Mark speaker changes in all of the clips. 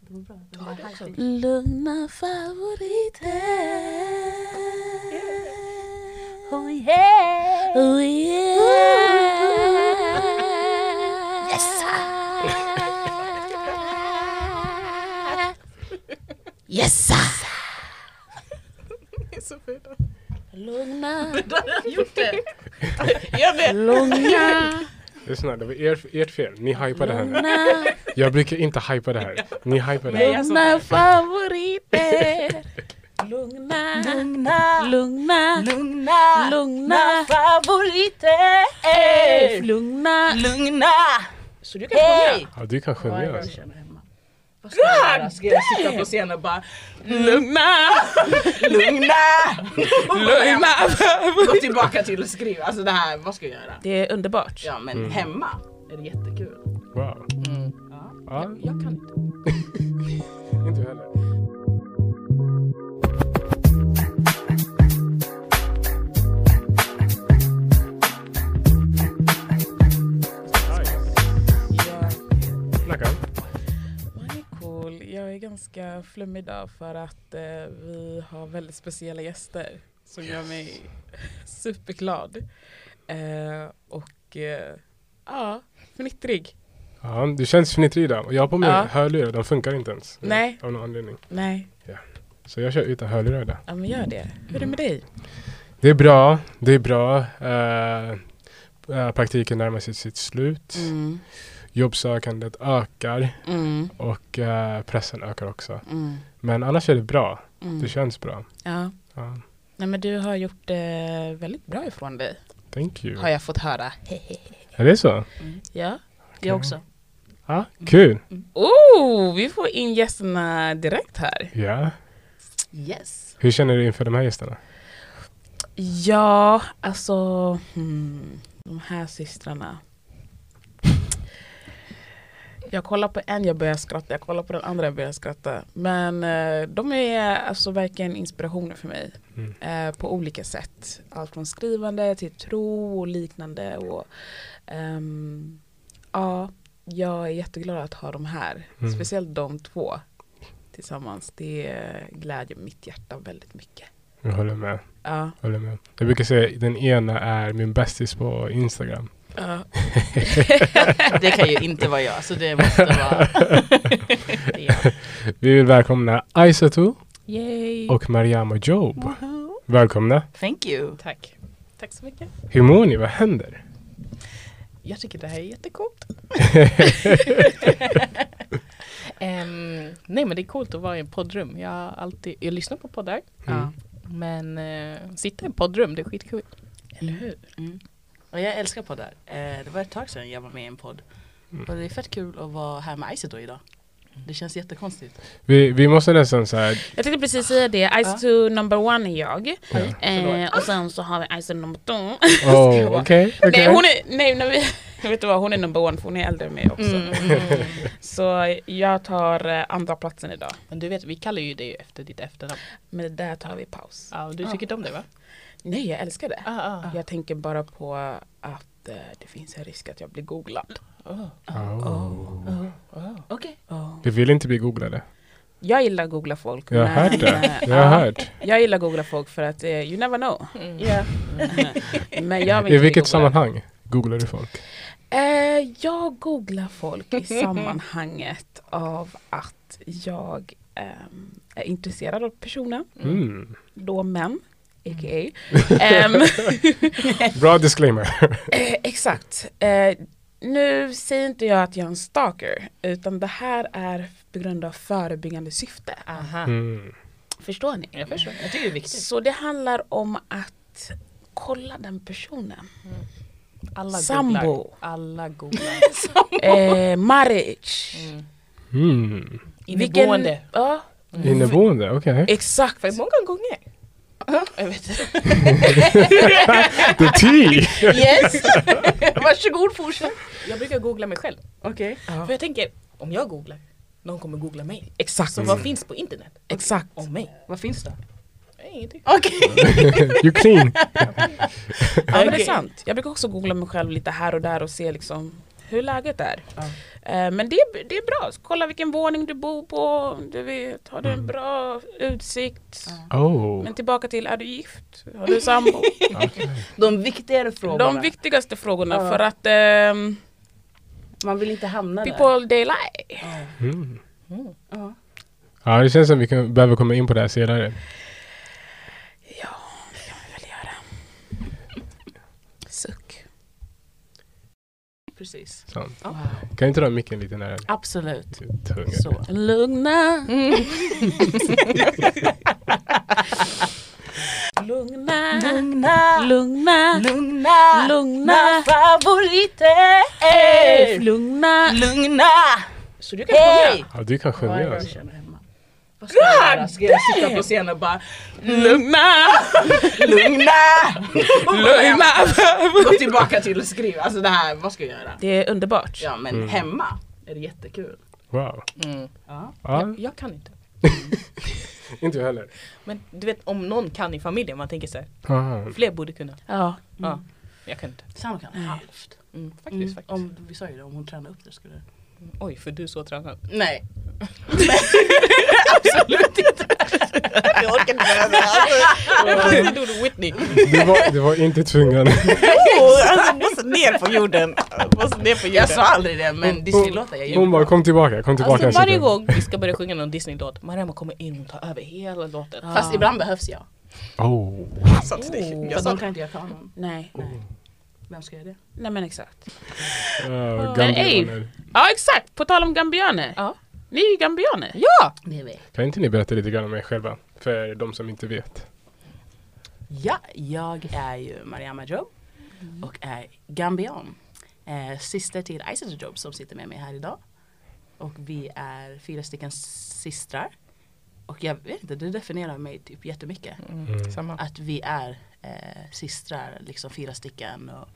Speaker 1: vad bra. Den där high pitch.
Speaker 2: Lugna favoriter. Oh yeah. Oh yeah. Yes. Yes.
Speaker 3: Det är så fint.
Speaker 2: Lugna.
Speaker 3: Jag gjort det. Jag vet.
Speaker 2: Lugna.
Speaker 4: Lyssna, det var ert, ert fel. Ni hypade henne.
Speaker 2: Lugna.
Speaker 4: Jag brukar inte hypa det här. Ni hypade
Speaker 3: Nej,
Speaker 4: henne.
Speaker 3: alltså.
Speaker 2: Lugna favoriter. Lugna.
Speaker 3: Lugna,
Speaker 2: Lugna.
Speaker 3: lugna,
Speaker 2: Lugna.
Speaker 3: favoriter.
Speaker 2: Lugna.
Speaker 3: Lugna.
Speaker 1: Så du kan sjunga?
Speaker 4: Ja, du kan sjunga alltså.
Speaker 1: Vad ska jag göra? Ska jag
Speaker 3: Sitta på scenen och bara lugna, lugna,
Speaker 2: Lugna.
Speaker 3: Gå tillbaka till att skriva. Alltså det här, vad ska jag göra?
Speaker 1: Det är underbart.
Speaker 3: Ja men hemma är det jättekul.
Speaker 4: Wow. Ja,
Speaker 1: Jag kan inte.
Speaker 4: inte jag heller. Snacka.
Speaker 5: Man är cool. Jag är ganska flummig idag för att eh, vi har väldigt speciella gäster som gör mig superglad. Eh, och eh, ja, fnittrig.
Speaker 4: Ja, du känns fnittrig idag. Och Jag har på mig
Speaker 5: Ja.
Speaker 4: hörlurar, de funkar inte ens.
Speaker 5: Nej.
Speaker 4: Av någon anledning.
Speaker 5: Nej,
Speaker 4: Så jag kör utan hörlurar idag.
Speaker 5: ja men gör det. Hur är det med dig?
Speaker 4: Det är bra, det är bra. Eh, eh, praktiken närmar sig sitt slut.
Speaker 5: Mm,
Speaker 4: Jobbsökandet ökar
Speaker 5: mm,
Speaker 4: och eh, pressen ökar också.
Speaker 5: mm,
Speaker 4: Men annars är det bra.
Speaker 5: mm.
Speaker 4: Det känns bra.
Speaker 5: Ja.
Speaker 4: Ja,
Speaker 5: Nej men du har gjort eh, väldigt bra ifrån dig,
Speaker 4: thank you.
Speaker 5: har jag fått höra.
Speaker 4: Är det så?
Speaker 5: Ja.
Speaker 1: Jag också.
Speaker 4: Ja,
Speaker 5: Mm.
Speaker 4: kul.
Speaker 5: Oh, vi får in gästerna direkt här.
Speaker 4: Ja.
Speaker 3: Yes.
Speaker 4: Hur känner du inför de här gästerna?
Speaker 5: Ja, alltså hmm, de här systrarna. Jag kollar på en, jag börjar skratta. Jag kollar på den andra, jag börjar skratta. Men eh, de är alltså verkligen inspirationer för mig.
Speaker 4: Mm.
Speaker 5: Eh, på olika sätt. Allt från skrivande till tro och liknande. Och, ehm, ja, jag är jätteglad att ha dem här.
Speaker 4: Mm.
Speaker 5: Speciellt de två tillsammans. Det glädjer mitt hjärta väldigt mycket.
Speaker 4: Jag håller med.
Speaker 5: Ja.
Speaker 4: Håller med. Jag brukar säga den ena är min bästis på Instagram.
Speaker 5: Ja.
Speaker 3: Det kan ju inte vara jag, så det måste vara
Speaker 4: Vi vill välkomna Aisatu
Speaker 1: Yay!
Speaker 4: och Mariam Job. Välkomna.
Speaker 3: thank you.
Speaker 5: Tack. Tack så mycket.
Speaker 4: Hur mår ni? Vad händer?
Speaker 5: Jag tycker det här är jättecoolt.
Speaker 1: Ehm, nej men det är coolt att vara i en poddrum. Jag, har alltid, jag lyssnar på poddar.
Speaker 4: Mm.
Speaker 5: Ja.
Speaker 1: Men eh, sitta i en poddrum, det är skitkul.
Speaker 5: Eller hur?
Speaker 3: Mm. Och jag älskar poddar. Eh, det var ett tag sedan jag var med i en podd. Och det är fett kul att vara här med Isidor idag. Det känns jättekonstigt.
Speaker 4: Vi, vi måste nästan så här,
Speaker 2: Jag tänkte precis säga det. Ice to number one är jag.
Speaker 5: förlåt.
Speaker 2: Eh, och sen så har vi Ice to number two.
Speaker 4: oh, okej,
Speaker 5: Nej,
Speaker 4: okej.
Speaker 5: hon är, nej, nej, vi- jag vet du vad, hon är number one för hon är äldre än mig också.
Speaker 1: Mm.
Speaker 5: Så jag tar eh, andra platsen idag.
Speaker 1: Men du vet, vi kallar ju dig efter ditt efternamn.
Speaker 5: Men där tar vi paus.
Speaker 1: Ja, och du tycker inte om det va?
Speaker 5: Nej, jag älskar det.
Speaker 1: Ah,
Speaker 5: Jag tänker bara på att eh, det finns en risk att jag blir googlad.
Speaker 1: Ah,
Speaker 4: Oh.
Speaker 3: Okej.
Speaker 4: Vi vill inte bli googlade.
Speaker 5: Jag gillar googla folk.
Speaker 4: Jag har
Speaker 5: men,
Speaker 4: hört det.
Speaker 5: eh,
Speaker 4: Jag har
Speaker 5: ja,
Speaker 4: hört.
Speaker 5: Jag gillar googla folk för att eh, you never know.
Speaker 1: Mm.
Speaker 5: Men jag vill
Speaker 4: I
Speaker 5: inte bli
Speaker 4: vilket
Speaker 5: googlad.
Speaker 4: sammanhang googlar du folk?
Speaker 5: Eh, jag googlar folk i sammanhanget av att jag ehm, är intresserad av personer,
Speaker 4: Mm.
Speaker 5: då män, a.k.a. Ehm,
Speaker 4: Bra disclaimer.
Speaker 5: eh, exakt. Eh, nu säger inte jag att jag är en stalker, utan det här är på grund av förebyggande syfte.
Speaker 1: Aha.
Speaker 4: Mm.
Speaker 5: Förstår ni?
Speaker 1: Jag förstår.
Speaker 3: Jag tycker det är viktigt.
Speaker 5: Så det handlar om att kolla den personen.
Speaker 1: Alla
Speaker 5: Sambo.
Speaker 1: googlar. Alla googlar.
Speaker 5: Eh, marriage.
Speaker 4: Mm.
Speaker 5: Vilken-
Speaker 1: Mm. Inneboende.
Speaker 5: Ja,
Speaker 4: Inneboende, okej.
Speaker 5: exakt.
Speaker 1: För många gånger.
Speaker 5: Jag vet inte.
Speaker 4: The tea!
Speaker 1: Yes! Varsågod fortsätt. Jag brukar googla mig själv.
Speaker 3: Okej.
Speaker 1: För jag tänker, om jag googlar, någon kommer googla mig.
Speaker 5: Exakt.
Speaker 1: Så vad finns på internet
Speaker 5: Exakt.
Speaker 1: om mig?
Speaker 3: Mm. Vad finns det?
Speaker 1: Nej, Ingenting.
Speaker 3: Okej.
Speaker 4: You clean!
Speaker 5: Ja men det är
Speaker 1: Okej.
Speaker 5: sant. Jag brukar också googla mig själv lite här och där och se liksom hur läget är.
Speaker 3: Ja.
Speaker 5: Eh, men det, är- det är bra. Kolla vilken våning du bor på. Du vet, har du en
Speaker 4: Mm.
Speaker 5: bra utsikt?
Speaker 3: Ja.
Speaker 4: Oh.
Speaker 5: Men tillbaka till, är du gift? Har du sambo?
Speaker 4: okej.
Speaker 3: De viktigare frågorna.
Speaker 5: De viktigaste frågorna
Speaker 3: Ja.
Speaker 5: för att ehm,
Speaker 3: Man vill inte hamna där.
Speaker 5: people they lie.
Speaker 3: Ja.
Speaker 4: Mm.
Speaker 3: Ja.
Speaker 4: Ja, det känns som vi kan, behöver komma in på det här senare.
Speaker 5: Suck.
Speaker 3: Precis.
Speaker 4: Så.
Speaker 3: Wow.
Speaker 4: Kan inte du ha micken lite nära
Speaker 3: Absolut.
Speaker 4: till tungan?
Speaker 3: Så.
Speaker 5: Lugna. Lugna.
Speaker 3: Lugna,
Speaker 5: Lugna.
Speaker 3: lugna,
Speaker 5: Lugna.
Speaker 3: favoriter.
Speaker 5: Lugna.
Speaker 3: Lugna.
Speaker 5: Så du kan
Speaker 3: Hej!
Speaker 4: Ja, du kan sjunga alltså.
Speaker 3: Vad ska jag göra? Ska jag sitta på scenen och bara
Speaker 5: Mm. Lugna.
Speaker 3: lugna?
Speaker 5: Oh, Lugna.
Speaker 3: Gå tillbaka till att skriva. Alltså det här, vad ska jag göra?
Speaker 5: Det är underbart.
Speaker 3: Ja men
Speaker 4: Mm.
Speaker 3: hemma är det jättekul.
Speaker 4: Wow.
Speaker 6: Mm.
Speaker 3: Ja.
Speaker 4: Ja,
Speaker 6: Jag, jag kan inte.
Speaker 4: inte jag heller.
Speaker 6: Men du vet om någon kan i familjen, man tänker så här,
Speaker 4: Ah.
Speaker 6: fler borde kunna.
Speaker 5: Ja.
Speaker 6: Ja, jag kan inte.
Speaker 3: Sam kan halvt.
Speaker 6: Mm, faktiskt,
Speaker 3: Mm.
Speaker 6: faktiskt.
Speaker 3: Om, vi sa ju det, om hon tränar upp det skulle
Speaker 6: Oj, för du är så tränad.
Speaker 3: Nej.
Speaker 6: Jag orkar inte med det här. Jag gjorde Whitney.
Speaker 4: Du, var, du var inte tvungen.
Speaker 6: Alltså, måste ner på jorden. Måste ner på
Speaker 3: Jag sa aldrig det men Disneylåtar jag
Speaker 4: Hon
Speaker 3: gjorde.
Speaker 4: bara, kom tillbaka, kom tillbaka
Speaker 6: Alltså
Speaker 4: en
Speaker 6: varje
Speaker 4: sekund.
Speaker 6: gång vi ska börja sjunga någon Disney-låt, Mariamma kommer in och tar över hela låten.
Speaker 3: Fast ibland behövs jag.
Speaker 4: Oh.
Speaker 6: jag sa till dig.
Speaker 3: Jag
Speaker 6: Jag sa
Speaker 3: kan inte göra kanon.
Speaker 5: Nej.
Speaker 3: Nej. Vem ska göra det?
Speaker 5: Nej men exakt.
Speaker 4: Uh,
Speaker 5: ej.
Speaker 4: gambianer.
Speaker 5: Ja exakt, på tal om gambianer.
Speaker 6: Ja.
Speaker 5: Ni är ju gambianer.
Speaker 6: ja!
Speaker 3: Det vet.
Speaker 4: Kan inte ni berätta lite grann om er själva? För de som inte vet.
Speaker 3: Ja, jag är ju Mariama Job och är gambian. Eh, syster till Isis Job som sitter med mig här idag. Och vi är fyra stycken systrar. Och jag vet inte, det definierar mig typ jättemycket.
Speaker 4: Mm.
Speaker 6: Samma.
Speaker 3: Att vi är eh, systrar, liksom fyra stycken. Och,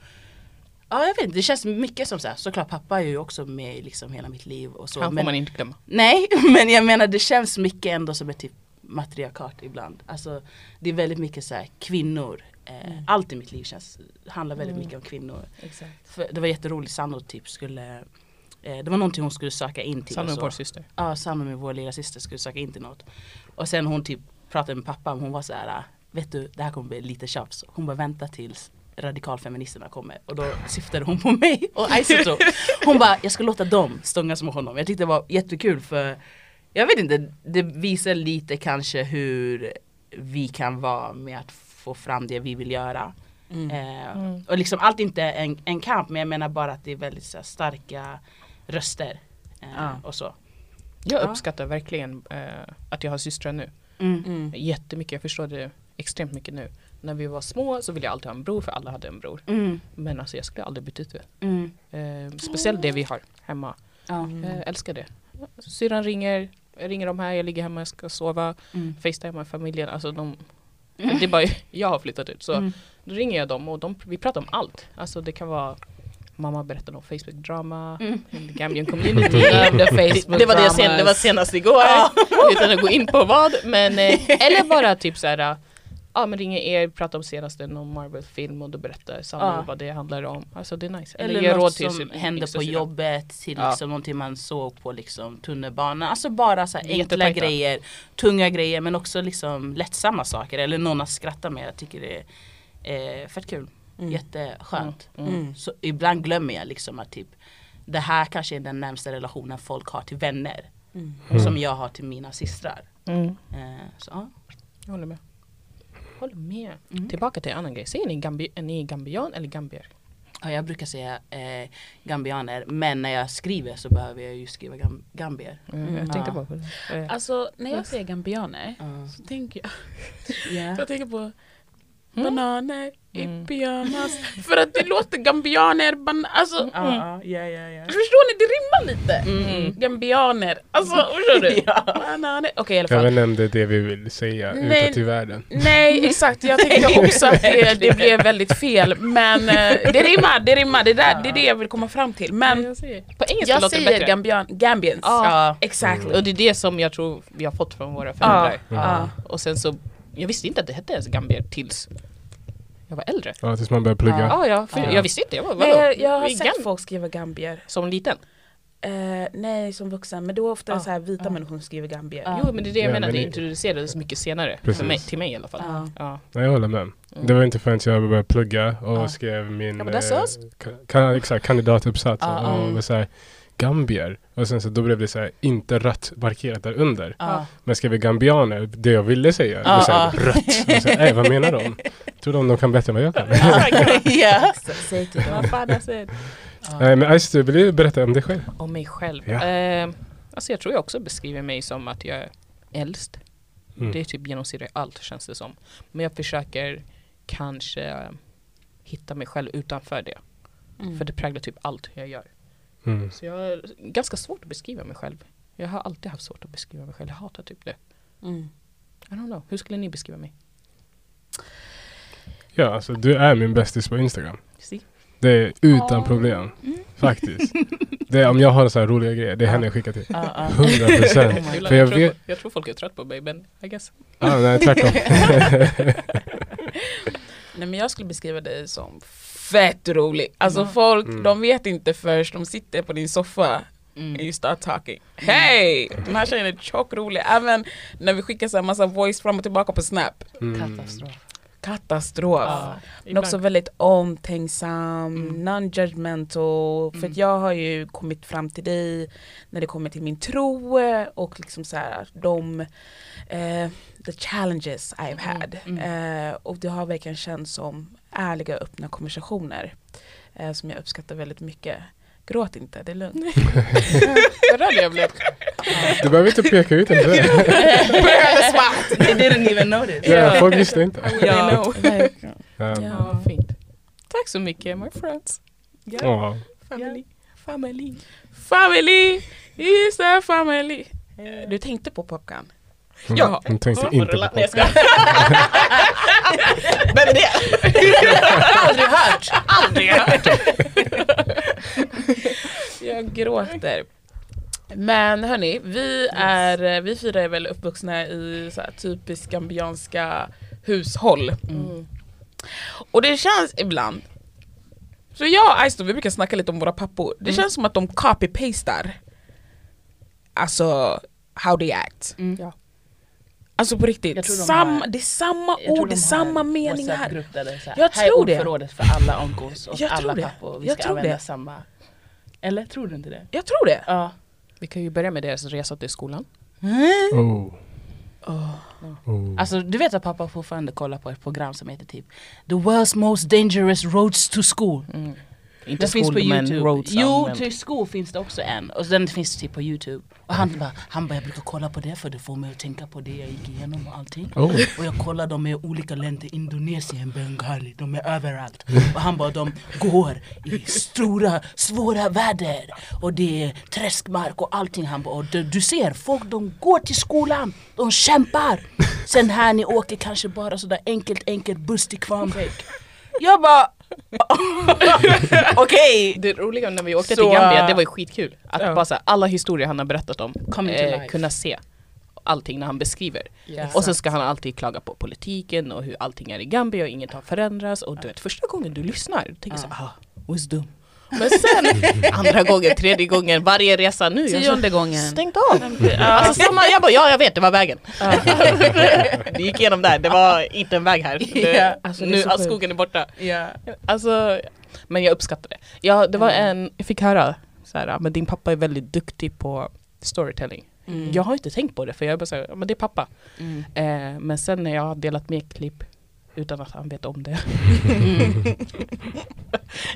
Speaker 3: ja, jag vet inte, det känns mycket som så här. Såklart pappa är ju också med i liksom hela mitt liv och så.
Speaker 6: Han får
Speaker 3: Men,
Speaker 6: man inte glömma.
Speaker 3: nej, men jag menar det känns mycket ändå som ett typ matriarkat ibland. Alltså det är väldigt mycket så här kvinnor. Eh, Allt i mitt liv känns, handlar väldigt mycket om kvinnor.
Speaker 6: Exakt.
Speaker 3: För, det var jätteroligt, Sanno typ skulle eh, det var någonting hon skulle söka in till.
Speaker 6: Sanna
Speaker 3: och
Speaker 6: är
Speaker 3: så.
Speaker 6: vår syster.
Speaker 3: Ja, Sanna med vår lilla syster skulle söka in till något. Och sen hon typ pratade med pappa och hon var så här, vet du det här kommer bli lite tjafs. Hon bara vänta tills radikalfeministerna kommer och då syftade hon på mig och Aisato. Hon bara jag ska låta dem stångas med honom. Jag tyckte det var jättekul för jag vet inte, det visar lite kanske hur vi kan vara med att få fram det vi vill göra.
Speaker 5: Mm.
Speaker 3: Eh,
Speaker 6: Mm.
Speaker 3: Och liksom allt inte är en, en kamp men jag menar bara att det är väldigt så här, starka röster. Eh,
Speaker 5: Ja.
Speaker 3: Och så.
Speaker 6: Jag
Speaker 3: Ja.
Speaker 6: uppskattar verkligen eh, att jag har systrar nu.
Speaker 3: Mm.
Speaker 5: Mm.
Speaker 6: Jättemycket, jag förstår det extremt mycket nu. När vi var små så ville jag alltid ha en bror för alla hade en bror.
Speaker 3: Mm,
Speaker 6: Men alltså jag skulle aldrig byta ut det.
Speaker 3: mm,
Speaker 6: Eh, speciellt det vi har hemma.
Speaker 3: ja, Mm,
Speaker 6: Eh, älskar det. Syrran ringer, jag ringer de här, jag ligger hemma, jag ska sova.
Speaker 3: mm,
Speaker 6: Facetime med familjen, alltså de Det är bara jag har flyttat ut så
Speaker 3: Mm.
Speaker 6: då ringer jag dem och de, vi pratar om allt. Alltså det kan vara Mamma berättade om Facebook-drama,
Speaker 3: Mm.
Speaker 6: the Gambian community.
Speaker 5: Love the Facebook
Speaker 6: Det var det, jag sen, det var
Speaker 5: dramas.
Speaker 6: senast igår, utan att gå in på vad. Men, eh, eller bara typ så här, ja men ringer er, pratar om senaste någon Marvel-film och då berättar Sanna
Speaker 3: Ja.
Speaker 6: vad det handlar om. Alltså det är nice.
Speaker 3: Eller,
Speaker 6: ger
Speaker 3: något
Speaker 6: till
Speaker 3: som
Speaker 6: sin
Speaker 3: hände
Speaker 6: yngsta
Speaker 3: på
Speaker 6: syrra.
Speaker 3: jobbet, till
Speaker 6: Ja.
Speaker 3: liksom någonting man såg på liksom tunnelbanan. Alltså bara så här enkla
Speaker 6: Jättetajta.
Speaker 3: grejer, tunga grejer men också liksom lättsamma saker eller någon att skratta med. Jag tycker det är eh, fett kul, jätteskönt.
Speaker 5: Mm.
Speaker 3: Så ibland glömmer jag liksom att typ det här kanske är den närmsta relationen folk har till vänner.
Speaker 5: Mm.
Speaker 3: Som jag har till mina systrar.
Speaker 6: Mm.
Speaker 3: Eh, så, ja.
Speaker 6: Jag håller med. Håller med. Tillbaka till en annan grej. Säger ni, gambi, är ni gambian eller gambier?
Speaker 3: Ja, jag brukar säga eh, gambianer men när jag skriver så behöver jag ju skriva gam- gambier.
Speaker 6: Mm, jag tänkte
Speaker 3: Ja.
Speaker 6: på eh,
Speaker 5: Alltså när jag säger gambianer
Speaker 3: Ja.
Speaker 5: så tänker jag,
Speaker 3: Yeah.
Speaker 5: jag tänker på bananer i pyjamas. Mm. För att det låter gambianer, ban- alltså
Speaker 3: Ja, ja, ja, ja.
Speaker 5: förstår ni det rimmar lite. Gambianer, alltså förstår du? Bananer, okej i alla fall.
Speaker 4: Jag nämnde det vi vill säga
Speaker 5: Nej.
Speaker 4: utåt i världen.
Speaker 5: Nej exakt, jag tänkte också att det, det blev väldigt fel. Men eh, det rimmar, det rimmar, det, där, det är det jag vill komma fram till. Men
Speaker 6: På engelska
Speaker 5: jag
Speaker 6: låter det
Speaker 5: säger
Speaker 6: bättre.
Speaker 5: gambian, gambians.
Speaker 6: Ja. Mm.
Speaker 5: Exakt.
Speaker 6: Och det är det som jag tror vi har fått från våra
Speaker 5: Ja,
Speaker 6: föräldrar.
Speaker 5: ja.
Speaker 6: Och sen så, jag visste inte att det hette ens gambier tills Jag var äldre.
Speaker 4: Ja, tills man börjar plugga.
Speaker 6: Ja,
Speaker 4: Ja.
Speaker 6: ah, ja, för
Speaker 4: Ja.
Speaker 6: jag visste inte. Jag var, vadå?
Speaker 7: Nej, jag har
Speaker 6: Vi är gam-
Speaker 7: sett folk skriva gambier.
Speaker 6: Som liten.
Speaker 7: Eh, nej, som vuxen. Men det var ofta
Speaker 6: Ja.
Speaker 7: så här vita
Speaker 3: Ja.
Speaker 7: människor som skriver gambier.
Speaker 3: Ja.
Speaker 6: Jo, men det är det jag
Speaker 4: Ja,
Speaker 6: menar.
Speaker 4: men
Speaker 6: Det
Speaker 4: det-
Speaker 6: introducerades mycket senare. För
Speaker 4: Precis.
Speaker 6: mig, till mig i alla fall. Ja.
Speaker 3: Ja.
Speaker 4: jag håller med.
Speaker 6: Mm.
Speaker 4: Det var inte förrän jag började plugga och
Speaker 3: Ja.
Speaker 4: skrev min
Speaker 6: Ja, men that's
Speaker 4: eh,
Speaker 6: us.
Speaker 4: ka- kan, exakt, kandidatuppsats
Speaker 3: Ja,
Speaker 4: och
Speaker 3: mm.
Speaker 4: var så här, gambier. Och sen så då blev det så här, inte rött markerat där under.
Speaker 3: Ja.
Speaker 4: Men skrev vi gambianer, det jag ville säga,
Speaker 3: Ja,
Speaker 4: var så här,
Speaker 3: ja.
Speaker 4: rött. Och så här, "Ey, vad menar de? Tror de de kan bättre än vad jag kan?
Speaker 3: Ja.
Speaker 7: Så, säg till dem.
Speaker 6: Vad fan alltså.
Speaker 4: Nej, men Ice, du vill ju berätta om dig själv.
Speaker 6: Om mig själv.
Speaker 4: Ja.
Speaker 6: Eh, alltså jag tror jag också beskriver mig som att jag är äldst.
Speaker 4: Mm.
Speaker 6: Det är typ genomsyrar allt känns det som. Men jag försöker kanske hitta mig själv utanför det.
Speaker 5: Mm.
Speaker 6: För det präglar typ allt jag gör.
Speaker 4: Mm.
Speaker 6: Så jag har ganska svårt att beskriva mig själv. Jag har alltid haft svårt att beskriva mig själv. Jag hatar typ det.
Speaker 7: Mm.
Speaker 6: I don't know. Hur skulle ni beskriva mig?
Speaker 4: Ja, alltså du är min bästis på Instagram.
Speaker 6: Si.
Speaker 4: Det är utan problem. Faktiskt. Det är, om jag har så här roliga grejer, det är henne jag skickar till.
Speaker 3: Ja, ja.
Speaker 4: 100 procent.
Speaker 6: Oh Jag,
Speaker 4: För jag
Speaker 6: tror,
Speaker 4: vet...
Speaker 6: jag tror folk är trött på mig men I guess.
Speaker 4: Ah, nej, tvärtom.
Speaker 5: Nej men jag skulle beskriva dig som fett rolig. Alltså folk,
Speaker 4: Mm.
Speaker 5: de vet inte först, de sitter på din soffa and
Speaker 3: Mm.
Speaker 5: you start talking. Hej! Den här tjejen är tjock rolig. Även när vi skickar så här massa voice fram och tillbaka på snap.
Speaker 4: Mm.
Speaker 3: Katastrof.
Speaker 4: Ah.
Speaker 5: Katastrof.
Speaker 6: Ah.
Speaker 3: Ja.
Speaker 5: Men också väldigt omtänksam,
Speaker 6: Mm.
Speaker 5: non-judgmental. För att jag har ju kommit fram till dig när det kommer till min tro och liksom så här, de eh, the challenges
Speaker 6: Mm,
Speaker 5: I've had. Eh, och det har verkligen känts som ärliga öppna konversationer eh, som jag uppskattar väldigt mycket. Gråt inte, det är lugnt.
Speaker 6: Vad rörd jag blev.
Speaker 4: Du behöver inte peka ut en dörr.
Speaker 3: They didn't even notice.
Speaker 4: Ja, folk visste inte.
Speaker 5: Ja.
Speaker 4: Ja.
Speaker 6: Ja, vad fint. Tack så mycket my friends.
Speaker 4: Ja.
Speaker 6: Family. Family.
Speaker 5: Family is a family. Du tänkte på Top Gun?
Speaker 4: Hon,
Speaker 5: Ja.
Speaker 4: hon tänkte inte på
Speaker 6: Nej, jag ska.
Speaker 3: Vem är det? Aldrig hört. Aldrig hört.
Speaker 5: Jag gråter. Men hörni, vi, är, vi fyra är väl uppvuxna i så här typiskt gambianska hushåll. Mm. Och det känns ibland, så jag och Aisto vi brukar snacka lite om våra pappor, det känns som att de copy-pastar Alltså how they act.
Speaker 3: Mm.
Speaker 6: Ja.
Speaker 5: Alltså på riktigt,
Speaker 3: Jag tror de
Speaker 5: samma,
Speaker 3: har-
Speaker 5: det är samma
Speaker 3: Jag tror
Speaker 5: ord, det är
Speaker 3: de har
Speaker 5: samma
Speaker 3: en
Speaker 5: meningar.
Speaker 3: WhatsApp-grupp där det är så här,
Speaker 5: Jag
Speaker 3: här är
Speaker 5: tror det.
Speaker 3: ordförrådet för alla onkos och
Speaker 5: Jag tror
Speaker 3: alla
Speaker 5: det.
Speaker 3: pappor. Vi
Speaker 5: Jag
Speaker 3: ska
Speaker 5: tror
Speaker 3: använda
Speaker 5: det.
Speaker 3: samma. Eller tror du inte det?
Speaker 5: Jag tror det.
Speaker 3: Ja.
Speaker 6: Vi kan ju börja med deras resa till skolan.
Speaker 4: Oh. Oh.
Speaker 3: Mm. Alltså du vet att pappa fortfarande kollar på ett program som heter typ The World's Most Dangerous Roads to School.
Speaker 6: Inte
Speaker 3: Det finns på Youtube.
Speaker 6: roads.
Speaker 3: jo,
Speaker 6: men-
Speaker 3: till skor finns det också en. Och den finns typ på Youtube. Och han bara, han bara, jag brukar kolla på det för det får mig att tänka på det jag gick igenom och allting.
Speaker 4: Oh.
Speaker 3: Och jag kollar dem i olika länder, Indonesien, Bengali, de är överallt. Och han bara, de går i stora, svåra väder. Och det är träskmark och allting. Han bara, och du, du ser, folk de går till skolan, de kämpar. Sen här ni åker kanske bara sådär enkelt, enkelt buss till Kvarnbäck. Jag bara, okej.
Speaker 6: Det roliga när vi åkte
Speaker 5: Så,
Speaker 6: till Gambia,
Speaker 5: äh,
Speaker 6: det var ju skitkul. Att
Speaker 5: ja.
Speaker 6: bara så här, alla historier han har berättat om, eh,
Speaker 3: Coming to life.
Speaker 6: kunna se allting när han beskriver.
Speaker 5: Ja.
Speaker 6: Och så ska han alltid klaga på politiken och hur allting är i Gambia och inget har förändrats. Och du vet första gången du lyssnar, du tänker så här, ah, wisdom. Men sen andra gången, tredje gången, varje resa nu. jag
Speaker 7: Tionde
Speaker 6: så,
Speaker 7: gången.
Speaker 6: Stängt av! Alltså samma, jag bara, ja jag vet, det var vägen. Du gick igenom där, det var inte en väg här. Det,
Speaker 5: Ja, alltså, det är
Speaker 6: nu,
Speaker 5: så
Speaker 6: all
Speaker 5: sjukt.
Speaker 6: skogen är borta.
Speaker 5: Ja.
Speaker 6: Alltså, men jag uppskattar det. Ja, det var
Speaker 3: Mm.
Speaker 6: en, jag fick höra så här, men din pappa är väldigt duktig på storytelling.
Speaker 3: Mm.
Speaker 6: Jag har inte tänkt på det för jag är bara så här, "Ja, men det är pappa. Eh, men sen när jag har delat med klipp utan att han vet om det.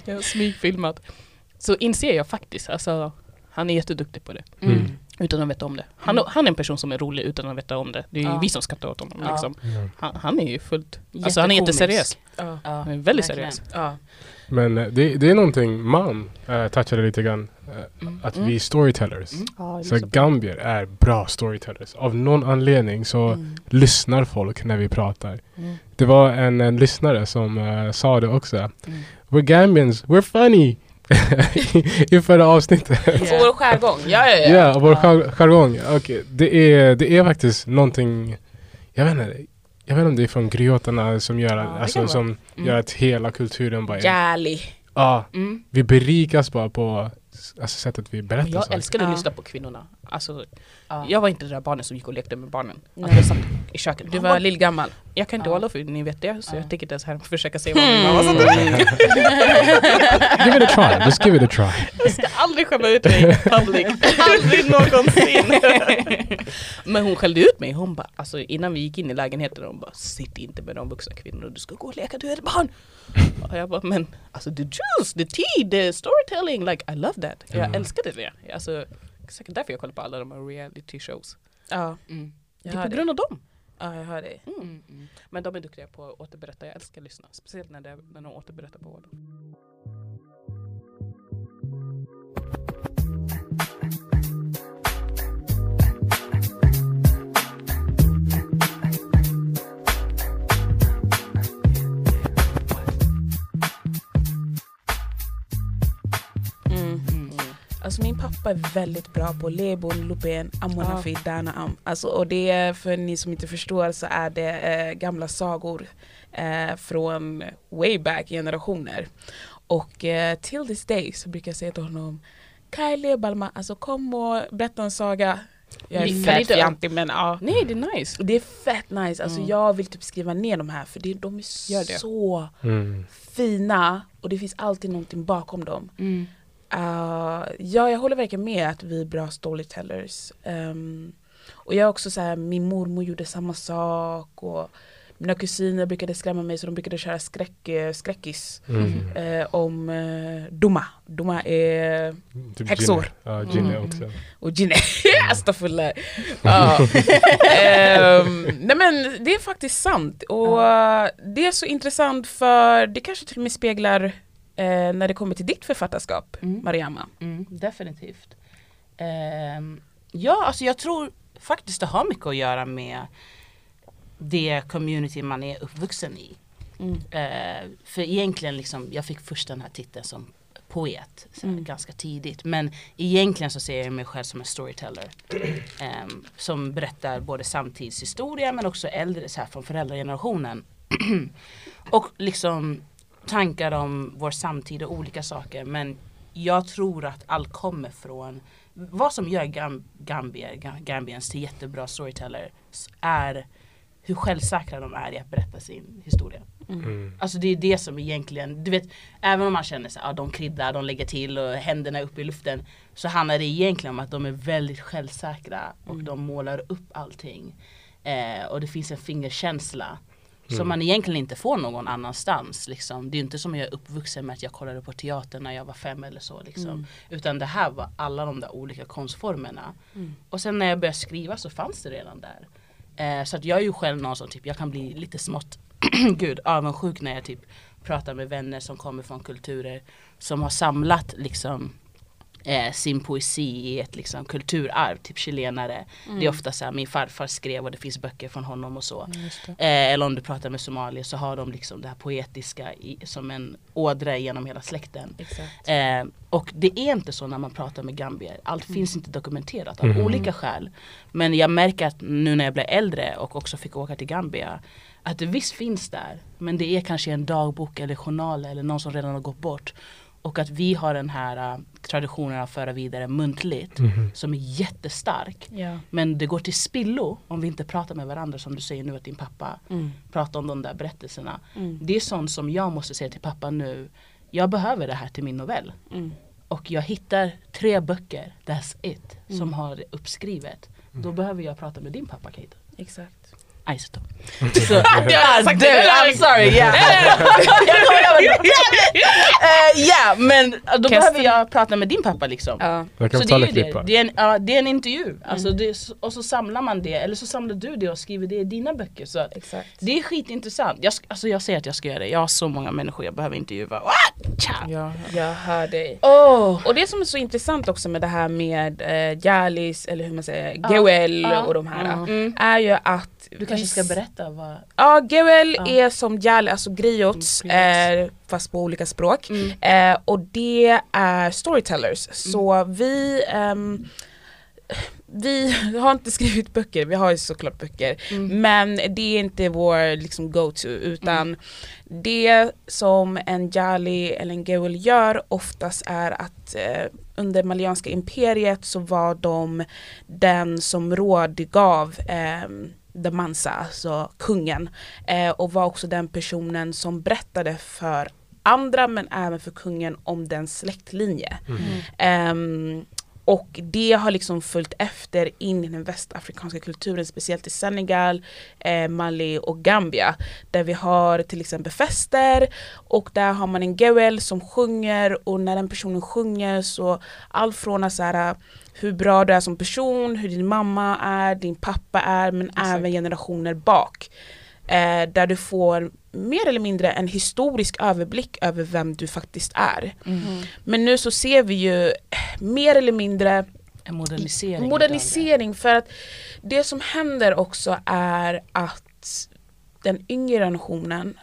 Speaker 6: jag har smygfilmat. Så inser jag faktiskt, alltså han är jätteduktig på det.
Speaker 4: Mm.
Speaker 6: Utan att veta om det. Han, han är en person som är rolig utan att veta om det. Det är ju
Speaker 3: Mm. Ja.
Speaker 6: vi som skrattar åt honom.
Speaker 3: Ja.
Speaker 6: Liksom.
Speaker 4: Ja.
Speaker 6: Han, han är ju fullt, alltså han är
Speaker 3: Jättekomisk.
Speaker 6: jätteseriös.
Speaker 5: Ja.
Speaker 3: Ja,
Speaker 6: Han är väldigt
Speaker 3: verkligen.
Speaker 6: seriös.
Speaker 5: Ja.
Speaker 4: Men eh, det, det är någonting mom eh, touchade lite grann. eh,
Speaker 5: Mm.
Speaker 4: Att vi är storytellers. Så
Speaker 3: liksom.
Speaker 4: gambier är bra storytellers. Av någon anledning så lyssnar folk när vi pratar.
Speaker 3: Mm.
Speaker 4: Det var en, en lyssnare som eh, sa det också. We're Gambians, we're funny! I förra avsnittet.
Speaker 5: På vår skärgång, ja ja
Speaker 4: Ja,
Speaker 5: ja.
Speaker 4: och vår jar- jargong. Okej, det, är, det är faktiskt någonting, jag vet inte, jag Jag vet inte om det är från griotarna som gör,
Speaker 3: Ja, det
Speaker 4: alltså,
Speaker 3: kan vara.
Speaker 4: som
Speaker 3: Mm.
Speaker 4: gör att hela kulturen bara är...
Speaker 5: Jäli.
Speaker 4: Ja,
Speaker 3: Mm.
Speaker 4: vi berikas bara på alltså, sättet vi berättar
Speaker 6: Men jag
Speaker 4: saker.
Speaker 6: älskade att
Speaker 5: Ja.
Speaker 6: lyssna på kvinnorna. Alltså,
Speaker 3: Ja.
Speaker 6: Jag var inte det där barnet som gick och lekte med barnen. Att
Speaker 5: Nej.
Speaker 6: jag satt i köket.
Speaker 5: Du
Speaker 6: Jag
Speaker 5: var
Speaker 6: bara,
Speaker 5: lillgammal.
Speaker 6: jag kan inte
Speaker 3: Ja.
Speaker 6: hålla för ni vet det, så
Speaker 3: Ja.
Speaker 6: jag tänker inte ens här försöka säga
Speaker 5: Hmm.
Speaker 6: vad Alltså, min mamma sa.
Speaker 4: Give it a try, just give it a try.
Speaker 6: Jag ska aldrig skämma ut mig i public. aldrig någonsin. Men hon skällde ut mig. Hon bara, alltså innan vi gick in i lägenheten, hon bara sitt inte med de vuxna kvinnorna, du ska gå och leka, du är ett barn. Och jag bara, men alltså the juice, the tea, the storytelling, like I love that. Jag
Speaker 4: Mm.
Speaker 6: älskade det. Alltså, säkert därför jag kollar på alla de här reality shows.
Speaker 5: Ja,
Speaker 3: Mm.
Speaker 5: jag
Speaker 6: det är
Speaker 5: hör
Speaker 6: på
Speaker 5: dig.
Speaker 6: grund av dem.
Speaker 5: Ja, jag hör dig.
Speaker 6: Mm.
Speaker 3: Mm. Mm.
Speaker 6: Men de är duktiga på att återberätta. Jag älskar att lyssna. Speciellt när, det, när de återberättar på vården.
Speaker 5: Mm.
Speaker 3: Mm.
Speaker 5: Alltså min pappa är väldigt bra på lebo, lupen,
Speaker 6: Ja.
Speaker 5: amonafi, dana am. Alltså, och det är, för ni som inte förstår så är det eh, gamla sagor eh, från way back generationer. Och eh, till this day så brukar jag säga till honom Kaile Balma, alltså kom och berätta en saga. Jag
Speaker 6: Ni
Speaker 5: är
Speaker 6: kan
Speaker 5: fett
Speaker 6: inte-
Speaker 5: fjantig men ja.
Speaker 6: Nej, det är nice.
Speaker 5: Det är fett nice, alltså
Speaker 6: Mm.
Speaker 5: jag vill typ skriva ner de här för det, de
Speaker 6: Gör
Speaker 5: är
Speaker 6: det.
Speaker 5: så
Speaker 4: Mm.
Speaker 5: fina och det finns alltid någonting bakom dem.
Speaker 6: Mm.
Speaker 5: Uh, ja, jag håller verkligen med att vi är bra storytellers. Ehm, och jag är också så här, min mormor gjorde samma sak och mina kusiner brukade skrämma mig så de brukade köra skräck, eh, skräckis
Speaker 4: Mm.
Speaker 5: eh, om uh, Duma. Duma är
Speaker 4: Typ
Speaker 5: Häxor.
Speaker 4: Ginny. Ja, Ginny
Speaker 5: Mm.
Speaker 4: också.
Speaker 5: och Gine,
Speaker 3: Mm.
Speaker 5: astafullah. Ja. Ehm, nej men det är faktiskt sant och eh, det är så intressant för det kanske till och med speglar eh, när det kommer till ditt författarskap,
Speaker 3: Mm.
Speaker 5: Mariama.
Speaker 3: Mm, definitivt. Ehm, ja, alltså jag tror faktiskt det har mycket att göra med det community man är uppvuxen i. Eh, för egentligen liksom, jag fick först den här titeln som poet så här,
Speaker 5: Mm.
Speaker 3: ganska tidigt. Men egentligen så ser jag mig själv som en storyteller. ehm, som berättar både samtidshistoria men också äldre, så här, från föräldragenerationen. och liksom tankar om vår samtid och olika saker. Men jag tror att allt kommer från vad som gör Gam- Gambier, Ga- Gambiens till jättebra storytellers är hur självsäkra de är i att berätta sin historia.
Speaker 4: Mm.
Speaker 3: Alltså det är det som egentligen, du vet, även om man känner sig, ah, de kryddar, de lägger till och händerna är uppe i luften. Så handlar det egentligen om att de är väldigt självsäkra och de målar upp allting. Eh, och det finns en fingerkänsla.
Speaker 4: Mm.
Speaker 3: Som man egentligen inte får någon annanstans. Liksom. Det är ju inte som jag är uppvuxen med att jag kollade på teater när jag var fem eller så. Liksom. Utan det här var alla de där olika konstformerna. Och sen när jag började skriva så fanns det redan där. Eh, så att jag är ju själv någon som typ, jag kan bli lite smått gud, avundsjuk när jag typ pratar med vänner som kommer från kulturer som har samlat liksom eh, sin poesi i ett liksom, kulturarv, typ chilenare. Det är ofta så här, min farfar skrev och det finns böcker från honom och så. Eh, eller om du pratar med somalier så har de liksom det här poetiska i, som en ådra genom hela släkten. Eh, och det är inte så när man pratar med gambier. Allt finns inte dokumenterat av
Speaker 4: Mhm.
Speaker 3: olika skäl. Men jag märker att nu när jag blev äldre och också fick åka till Gambia att det visst finns där. Men det är kanske en dagbok eller journal eller någon som redan har gått bort. Och att vi har den här eh, traditionen att föra vidare muntligt
Speaker 4: Mhm.
Speaker 3: som är jättestark. Men det går till spillo om vi inte pratar med varandra som du säger nu att din pappa pratar om de där berättelserna. Det är sånt som jag måste säga till pappa nu. Jag behöver det här till min novell. Och jag hittar tre böcker, that's it, som har det uppskrivet.
Speaker 4: Mm.
Speaker 3: Då behöver jag prata med din pappa Kate.
Speaker 5: Exakt.
Speaker 3: Iceto. Så, God damn, I'm sorry. Yeah. Jag kommer ihåg, damn it. Eh, yeah, men då behöver jag prata med din pappa liksom.
Speaker 5: Ja.
Speaker 4: Jag kan
Speaker 3: Så det
Speaker 4: betala
Speaker 3: är ju det.
Speaker 4: klippar.
Speaker 3: Det är, en, ja, det är en intervju. Alltså det är, s- och så samlar man det, eller så samlar du det och skriver det i dina böcker. Så att
Speaker 5: Exakt.
Speaker 3: det är skitintressant. Jag, sk- alltså jag säger att jag ska göra det. Jag har så många människor jag behöver intervjua. Ah, tja.
Speaker 6: Ja.
Speaker 5: Jag hör dig.
Speaker 3: Åh.
Speaker 5: Och det som är så intressant också med det här med eh, Jalis, eller hur man säger,
Speaker 3: Ja.
Speaker 5: Gewel
Speaker 3: Ja.
Speaker 5: och de här
Speaker 3: Ja. Mm.
Speaker 5: är ju att
Speaker 3: Du kanske ska berätta vad...
Speaker 5: Ja, Gewel
Speaker 3: Ja.
Speaker 5: är som Jali, alltså griots,
Speaker 3: Mm, griots.
Speaker 5: eh, fast på olika språk.
Speaker 3: Mm.
Speaker 5: Eh, och det är storytellers. Så vi ehm, vi har inte skrivit böcker, vi har ju såklart böcker.
Speaker 3: Mm.
Speaker 5: Men det är inte vår liksom, go-to utan det som en Jali eller en Geul gör oftast är att eh, under Malianska imperiet så var de den som råd gav eh, Damansa, alltså kungen. Eh, och var också den personen som berättade för andra men även för kungen om den släktlinje.
Speaker 4: Mm.
Speaker 6: Mm.
Speaker 5: Ehm, och det har liksom följt efter in i den västafrikanska kulturen, speciellt i Senegal, eh, Mali och Gambia. Där vi har till exempel fester och där har man en gewel som sjunger och när den personen sjunger så allt från att så här, hur bra du är som person, hur din mamma är, din pappa är men även generationer bak. Eh, där du får mer eller mindre en historisk överblick över vem du faktiskt är. Men nu så ser vi ju eh, mer eller mindre
Speaker 3: En modernisering.
Speaker 5: modernisering för att det som händer också är att den yngre generationen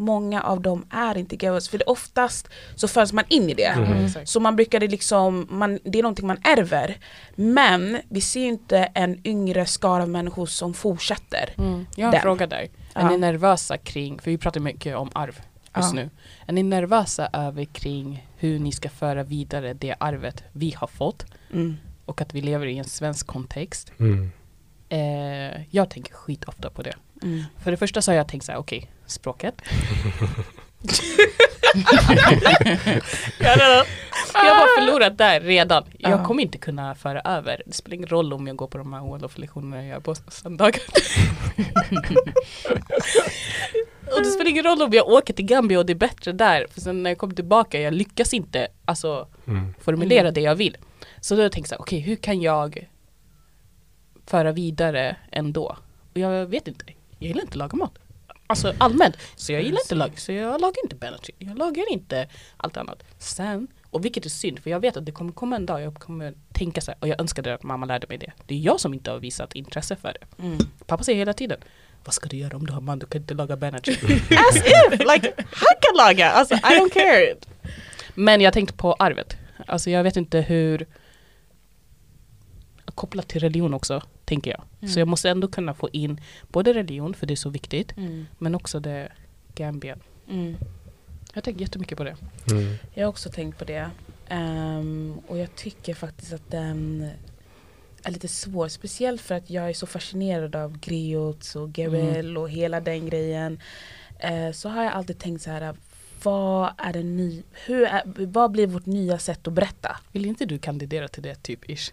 Speaker 5: Många av dem är inte girls, för det oftast så föds man in i det.
Speaker 6: Mm-hmm.
Speaker 5: Så man brukade liksom, man, det är någonting man ärver. Men vi ser ju inte en yngre skara av människor som fortsätter.
Speaker 6: Mm. Jag har
Speaker 5: Den.
Speaker 6: en fråga där. Är
Speaker 5: Ja.
Speaker 6: ni nervösa kring, för vi pratar mycket om arv just
Speaker 5: Ja.
Speaker 6: nu. Är ni nervösa över kring hur ni ska föra vidare det arvet vi har fått
Speaker 5: Mm.
Speaker 6: och att vi lever i en svensk kontext?
Speaker 4: Mm.
Speaker 6: Eh, jag tänker skit ofta på det.
Speaker 5: Mm.
Speaker 6: För det första så har jag tänkt så här, okej, språket. jag, har redan, jag har förlorat där redan. Jag
Speaker 5: Ja.
Speaker 6: kommer inte kunna föra över. Det spelar ingen roll om jag går på de här OL-lektionerna jag gör på söndagar. och det spelar ingen roll om jag åker till Gambia och det är bättre där. För sen när jag kommer tillbaka, jag lyckas inte alltså,
Speaker 4: Mm.
Speaker 6: formulera det jag vill. Så då tänkte jag så här, okej, hur kan jag föra vidare ändå? Och jag vet inte, jag gillar inte att laga mat. Alltså allmänt, så jag gillar inte att laga, så jag lagar inte Benetton, jag lagar inte allt annat. Sen, och vilket är synd, för jag vet att det kommer komma en dag jag kommer tänka så här, och jag önskade att mamma lärde mig det. Det är jag som inte har visat intresse för det.
Speaker 5: Mm.
Speaker 6: Pappa säger hela tiden, vad ska du göra om du har man, du kan inte laga Benetton. As if! Like, han kan laga, alltså I don't care. Men jag tänkte på arvet. Alltså jag vet inte hur kopplat till religion också, tänker jag.
Speaker 3: Mm.
Speaker 6: Så jag måste ändå kunna få in både religion, för det är så viktigt,
Speaker 5: Mm.
Speaker 6: men också det Gambien. Jag tänker jättemycket på det.
Speaker 4: Mm.
Speaker 5: Jag har också tänkt på det. Ehm, och jag tycker faktiskt att den är lite svår. Speciellt för att jag är så fascinerad av griots och
Speaker 6: Mm.
Speaker 5: Gerel och hela den grejen. Eh, så har jag alltid tänkt så här. Vad, är det ny, hur är, vad blir vårt nya sätt att berätta?
Speaker 6: Vill inte du kandidera till det, typ ish?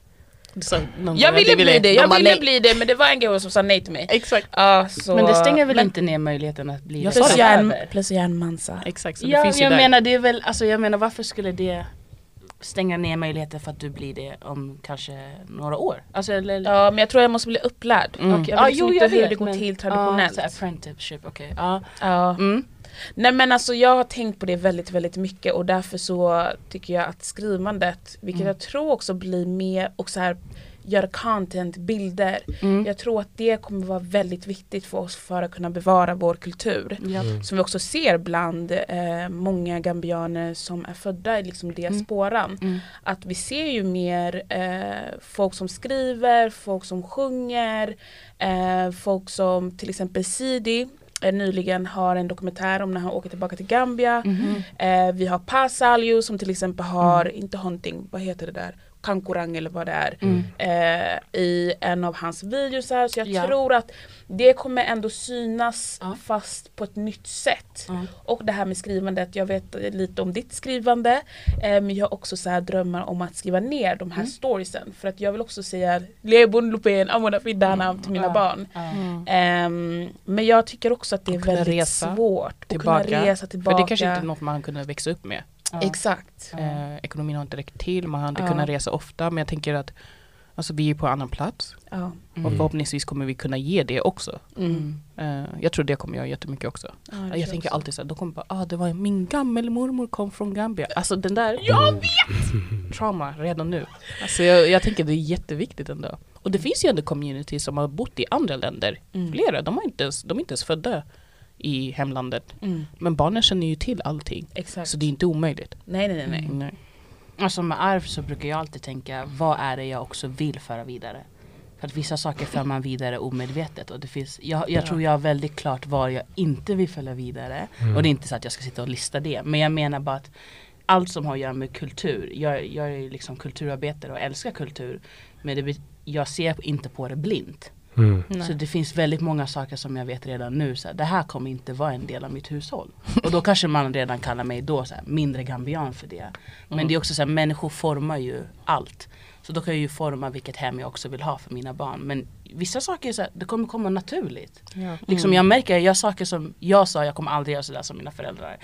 Speaker 6: Du sa någon
Speaker 5: Jag
Speaker 6: gång att
Speaker 5: ville
Speaker 6: du
Speaker 5: bli det,
Speaker 6: De
Speaker 5: jag
Speaker 6: bara,
Speaker 5: ville
Speaker 6: nej.
Speaker 5: bli det men det var en grej som sa nej till mig.
Speaker 6: Exakt.
Speaker 5: Ja, så,
Speaker 3: Men det stänger väl inte ner möjligheten att bli
Speaker 6: Jag
Speaker 3: det
Speaker 6: sa
Speaker 5: plus,
Speaker 6: det.
Speaker 5: jag är en,
Speaker 3: framöver?
Speaker 5: plus jag är en mansa.
Speaker 6: Exakt, så det
Speaker 3: Ja,
Speaker 6: finns ju
Speaker 3: jag
Speaker 6: där.
Speaker 3: menar det är väl, alltså jag menar varför skulle det stänga ner möjligheten för att du blir det om kanske några år? Alltså eller
Speaker 5: Ja men jag tror jag måste bli upplärd.
Speaker 3: Mm.
Speaker 5: Och jag vet liksom inte hur det går
Speaker 3: men-
Speaker 5: till traditionellt.
Speaker 3: Ja, så apprenticeship, okej. Ja.
Speaker 5: Ja.
Speaker 3: Mm.
Speaker 5: Nej men alltså jag har tänkt på det väldigt väldigt mycket och därför så tycker jag att skrivandet, vilket jag tror också blir mer och så här göra content, bilder.
Speaker 3: Mm.
Speaker 5: Jag tror att det kommer vara väldigt viktigt för oss för att kunna bevara vår kultur.
Speaker 3: Ja.
Speaker 4: Mm.
Speaker 5: Som vi också ser bland eh, många gambianer som är födda i liksom diasporan.
Speaker 3: Mm.
Speaker 5: Att vi ser ju mer eh, folk som skriver, folk som sjunger, eh, folk som till exempel Sidi eh, nyligen har en dokumentär om när han åker tillbaka till Gambia.
Speaker 3: Mm.
Speaker 5: Eh, vi har Pasalio som till exempel har, inte hunting, vad heter det där? Kankurang eller vad det är
Speaker 3: Mm.
Speaker 5: eh, i en av hans videos här så jag
Speaker 3: Ja.
Speaker 5: tror att det kommer ändå synas
Speaker 3: Ja.
Speaker 5: fast på ett nytt sätt.
Speaker 3: Ja.
Speaker 5: Och det här med skrivandet, jag vet lite om ditt skrivande eh, men jag har också så här drömmar om att skriva ner de här storiesen för att jag vill också säga Lebon Lupen, Amona Fidana till mina
Speaker 3: Ja.
Speaker 5: barn.
Speaker 3: Ja.
Speaker 5: Ehm, men jag tycker också att det är
Speaker 6: Och kunna
Speaker 5: väldigt
Speaker 6: resa
Speaker 5: svårt att kunna
Speaker 6: Tillbaka.
Speaker 5: resa tillbaka.
Speaker 6: För det kanske inte är något man kunde växa upp med.
Speaker 3: Ja.
Speaker 5: Exakt.
Speaker 6: Eh, ekonomin har inte räckt till, man har inte
Speaker 5: Ja.
Speaker 6: kunnat resa ofta, men jag tänker att alltså, vi är på annan plats
Speaker 5: Ja.
Speaker 6: och förhoppningsvis kommer vi kunna ge det också.
Speaker 3: Mm.
Speaker 6: Eh, jag tror det kommer jag göra jättemycket också.
Speaker 5: Ja, det tror
Speaker 6: Jag tänker
Speaker 5: också.
Speaker 6: alltid så här, de kommer bara, ah, det var min gammelmormor kom från Gambia. Alltså den där jag
Speaker 4: Mm.
Speaker 6: vet! trauma redan nu. Alltså jag, jag tänker det är jätteviktigt ändå. Och det finns ju ändå community som har bott i andra länder,
Speaker 5: Mm.
Speaker 6: flera, de, har inte ens, de är inte ens födda i hemlandet.
Speaker 5: Mm.
Speaker 6: Men barnen känner ju till allting.
Speaker 5: Exakt.
Speaker 6: Så det är inte omöjligt.
Speaker 5: Nej nej nej. nej.
Speaker 6: Nej.
Speaker 3: Och som Alltså med arv så brukar jag alltid tänka, vad är det jag också vill föra vidare? För att vissa saker för man vidare omedvetet och det finns, jag, jag tror jag har väldigt klart vad jag inte vill följa vidare.
Speaker 4: Mm.
Speaker 3: Och det är inte så att jag ska sitta och lista det, men jag menar bara att allt som har att göra med kultur, jag, jag är ju liksom kulturarbetare och älskar kultur, men det, bet- jag ser inte på det blint.
Speaker 4: Mm.
Speaker 3: Så det finns väldigt många saker som jag vet redan nu, så här, det här kommer inte vara en del av mitt hushåll. Och då kanske man redan kallar mig då så här, mindre gambian för det. Men det är också så här, människor formar ju allt. Så då kan jag ju forma vilket hem jag också vill ha för mina barn. Men vissa saker är så här, det kommer komma naturligt. Liksom
Speaker 6: Mm.
Speaker 3: jag märker, jag gör saker som jag sa, jag kommer aldrig göra sådär som mina föräldrar.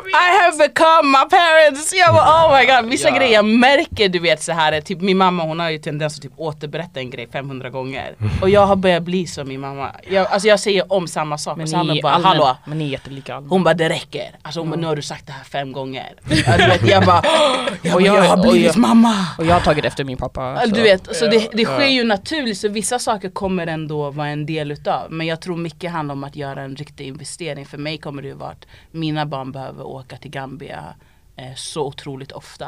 Speaker 3: I have become my parents! Jag bara, oh my god, vissa
Speaker 8: Ja.
Speaker 3: grejer jag märker du vet så här, typ min mamma hon har ju tendens att typ återberätta en grej 500 gånger. Och jag har börjat bli som min mamma. Jag, alltså jag säger om samma sak och samma bara,
Speaker 6: allmän-
Speaker 3: hallå.
Speaker 6: men ni är jättelika allmänt.
Speaker 3: Hon bara det räcker, alltså hon bara, nu har du sagt det här fem gånger. Ja, du vet, jag bara, jag,
Speaker 6: bara,
Speaker 3: jag har blivit
Speaker 6: och jag-
Speaker 3: mamma.
Speaker 6: Och jag har tagit efter min pappa.
Speaker 3: Ja,
Speaker 6: så-
Speaker 3: Alltså, Du vet, så det, det sker ju naturligt så vissa saker kommer ändå vara en del utav. Men jag tror mycket handlar om att göra en riktig investering. För mig kommer det ju vara att mina barn behöver åka till Gambia eh, så otroligt ofta.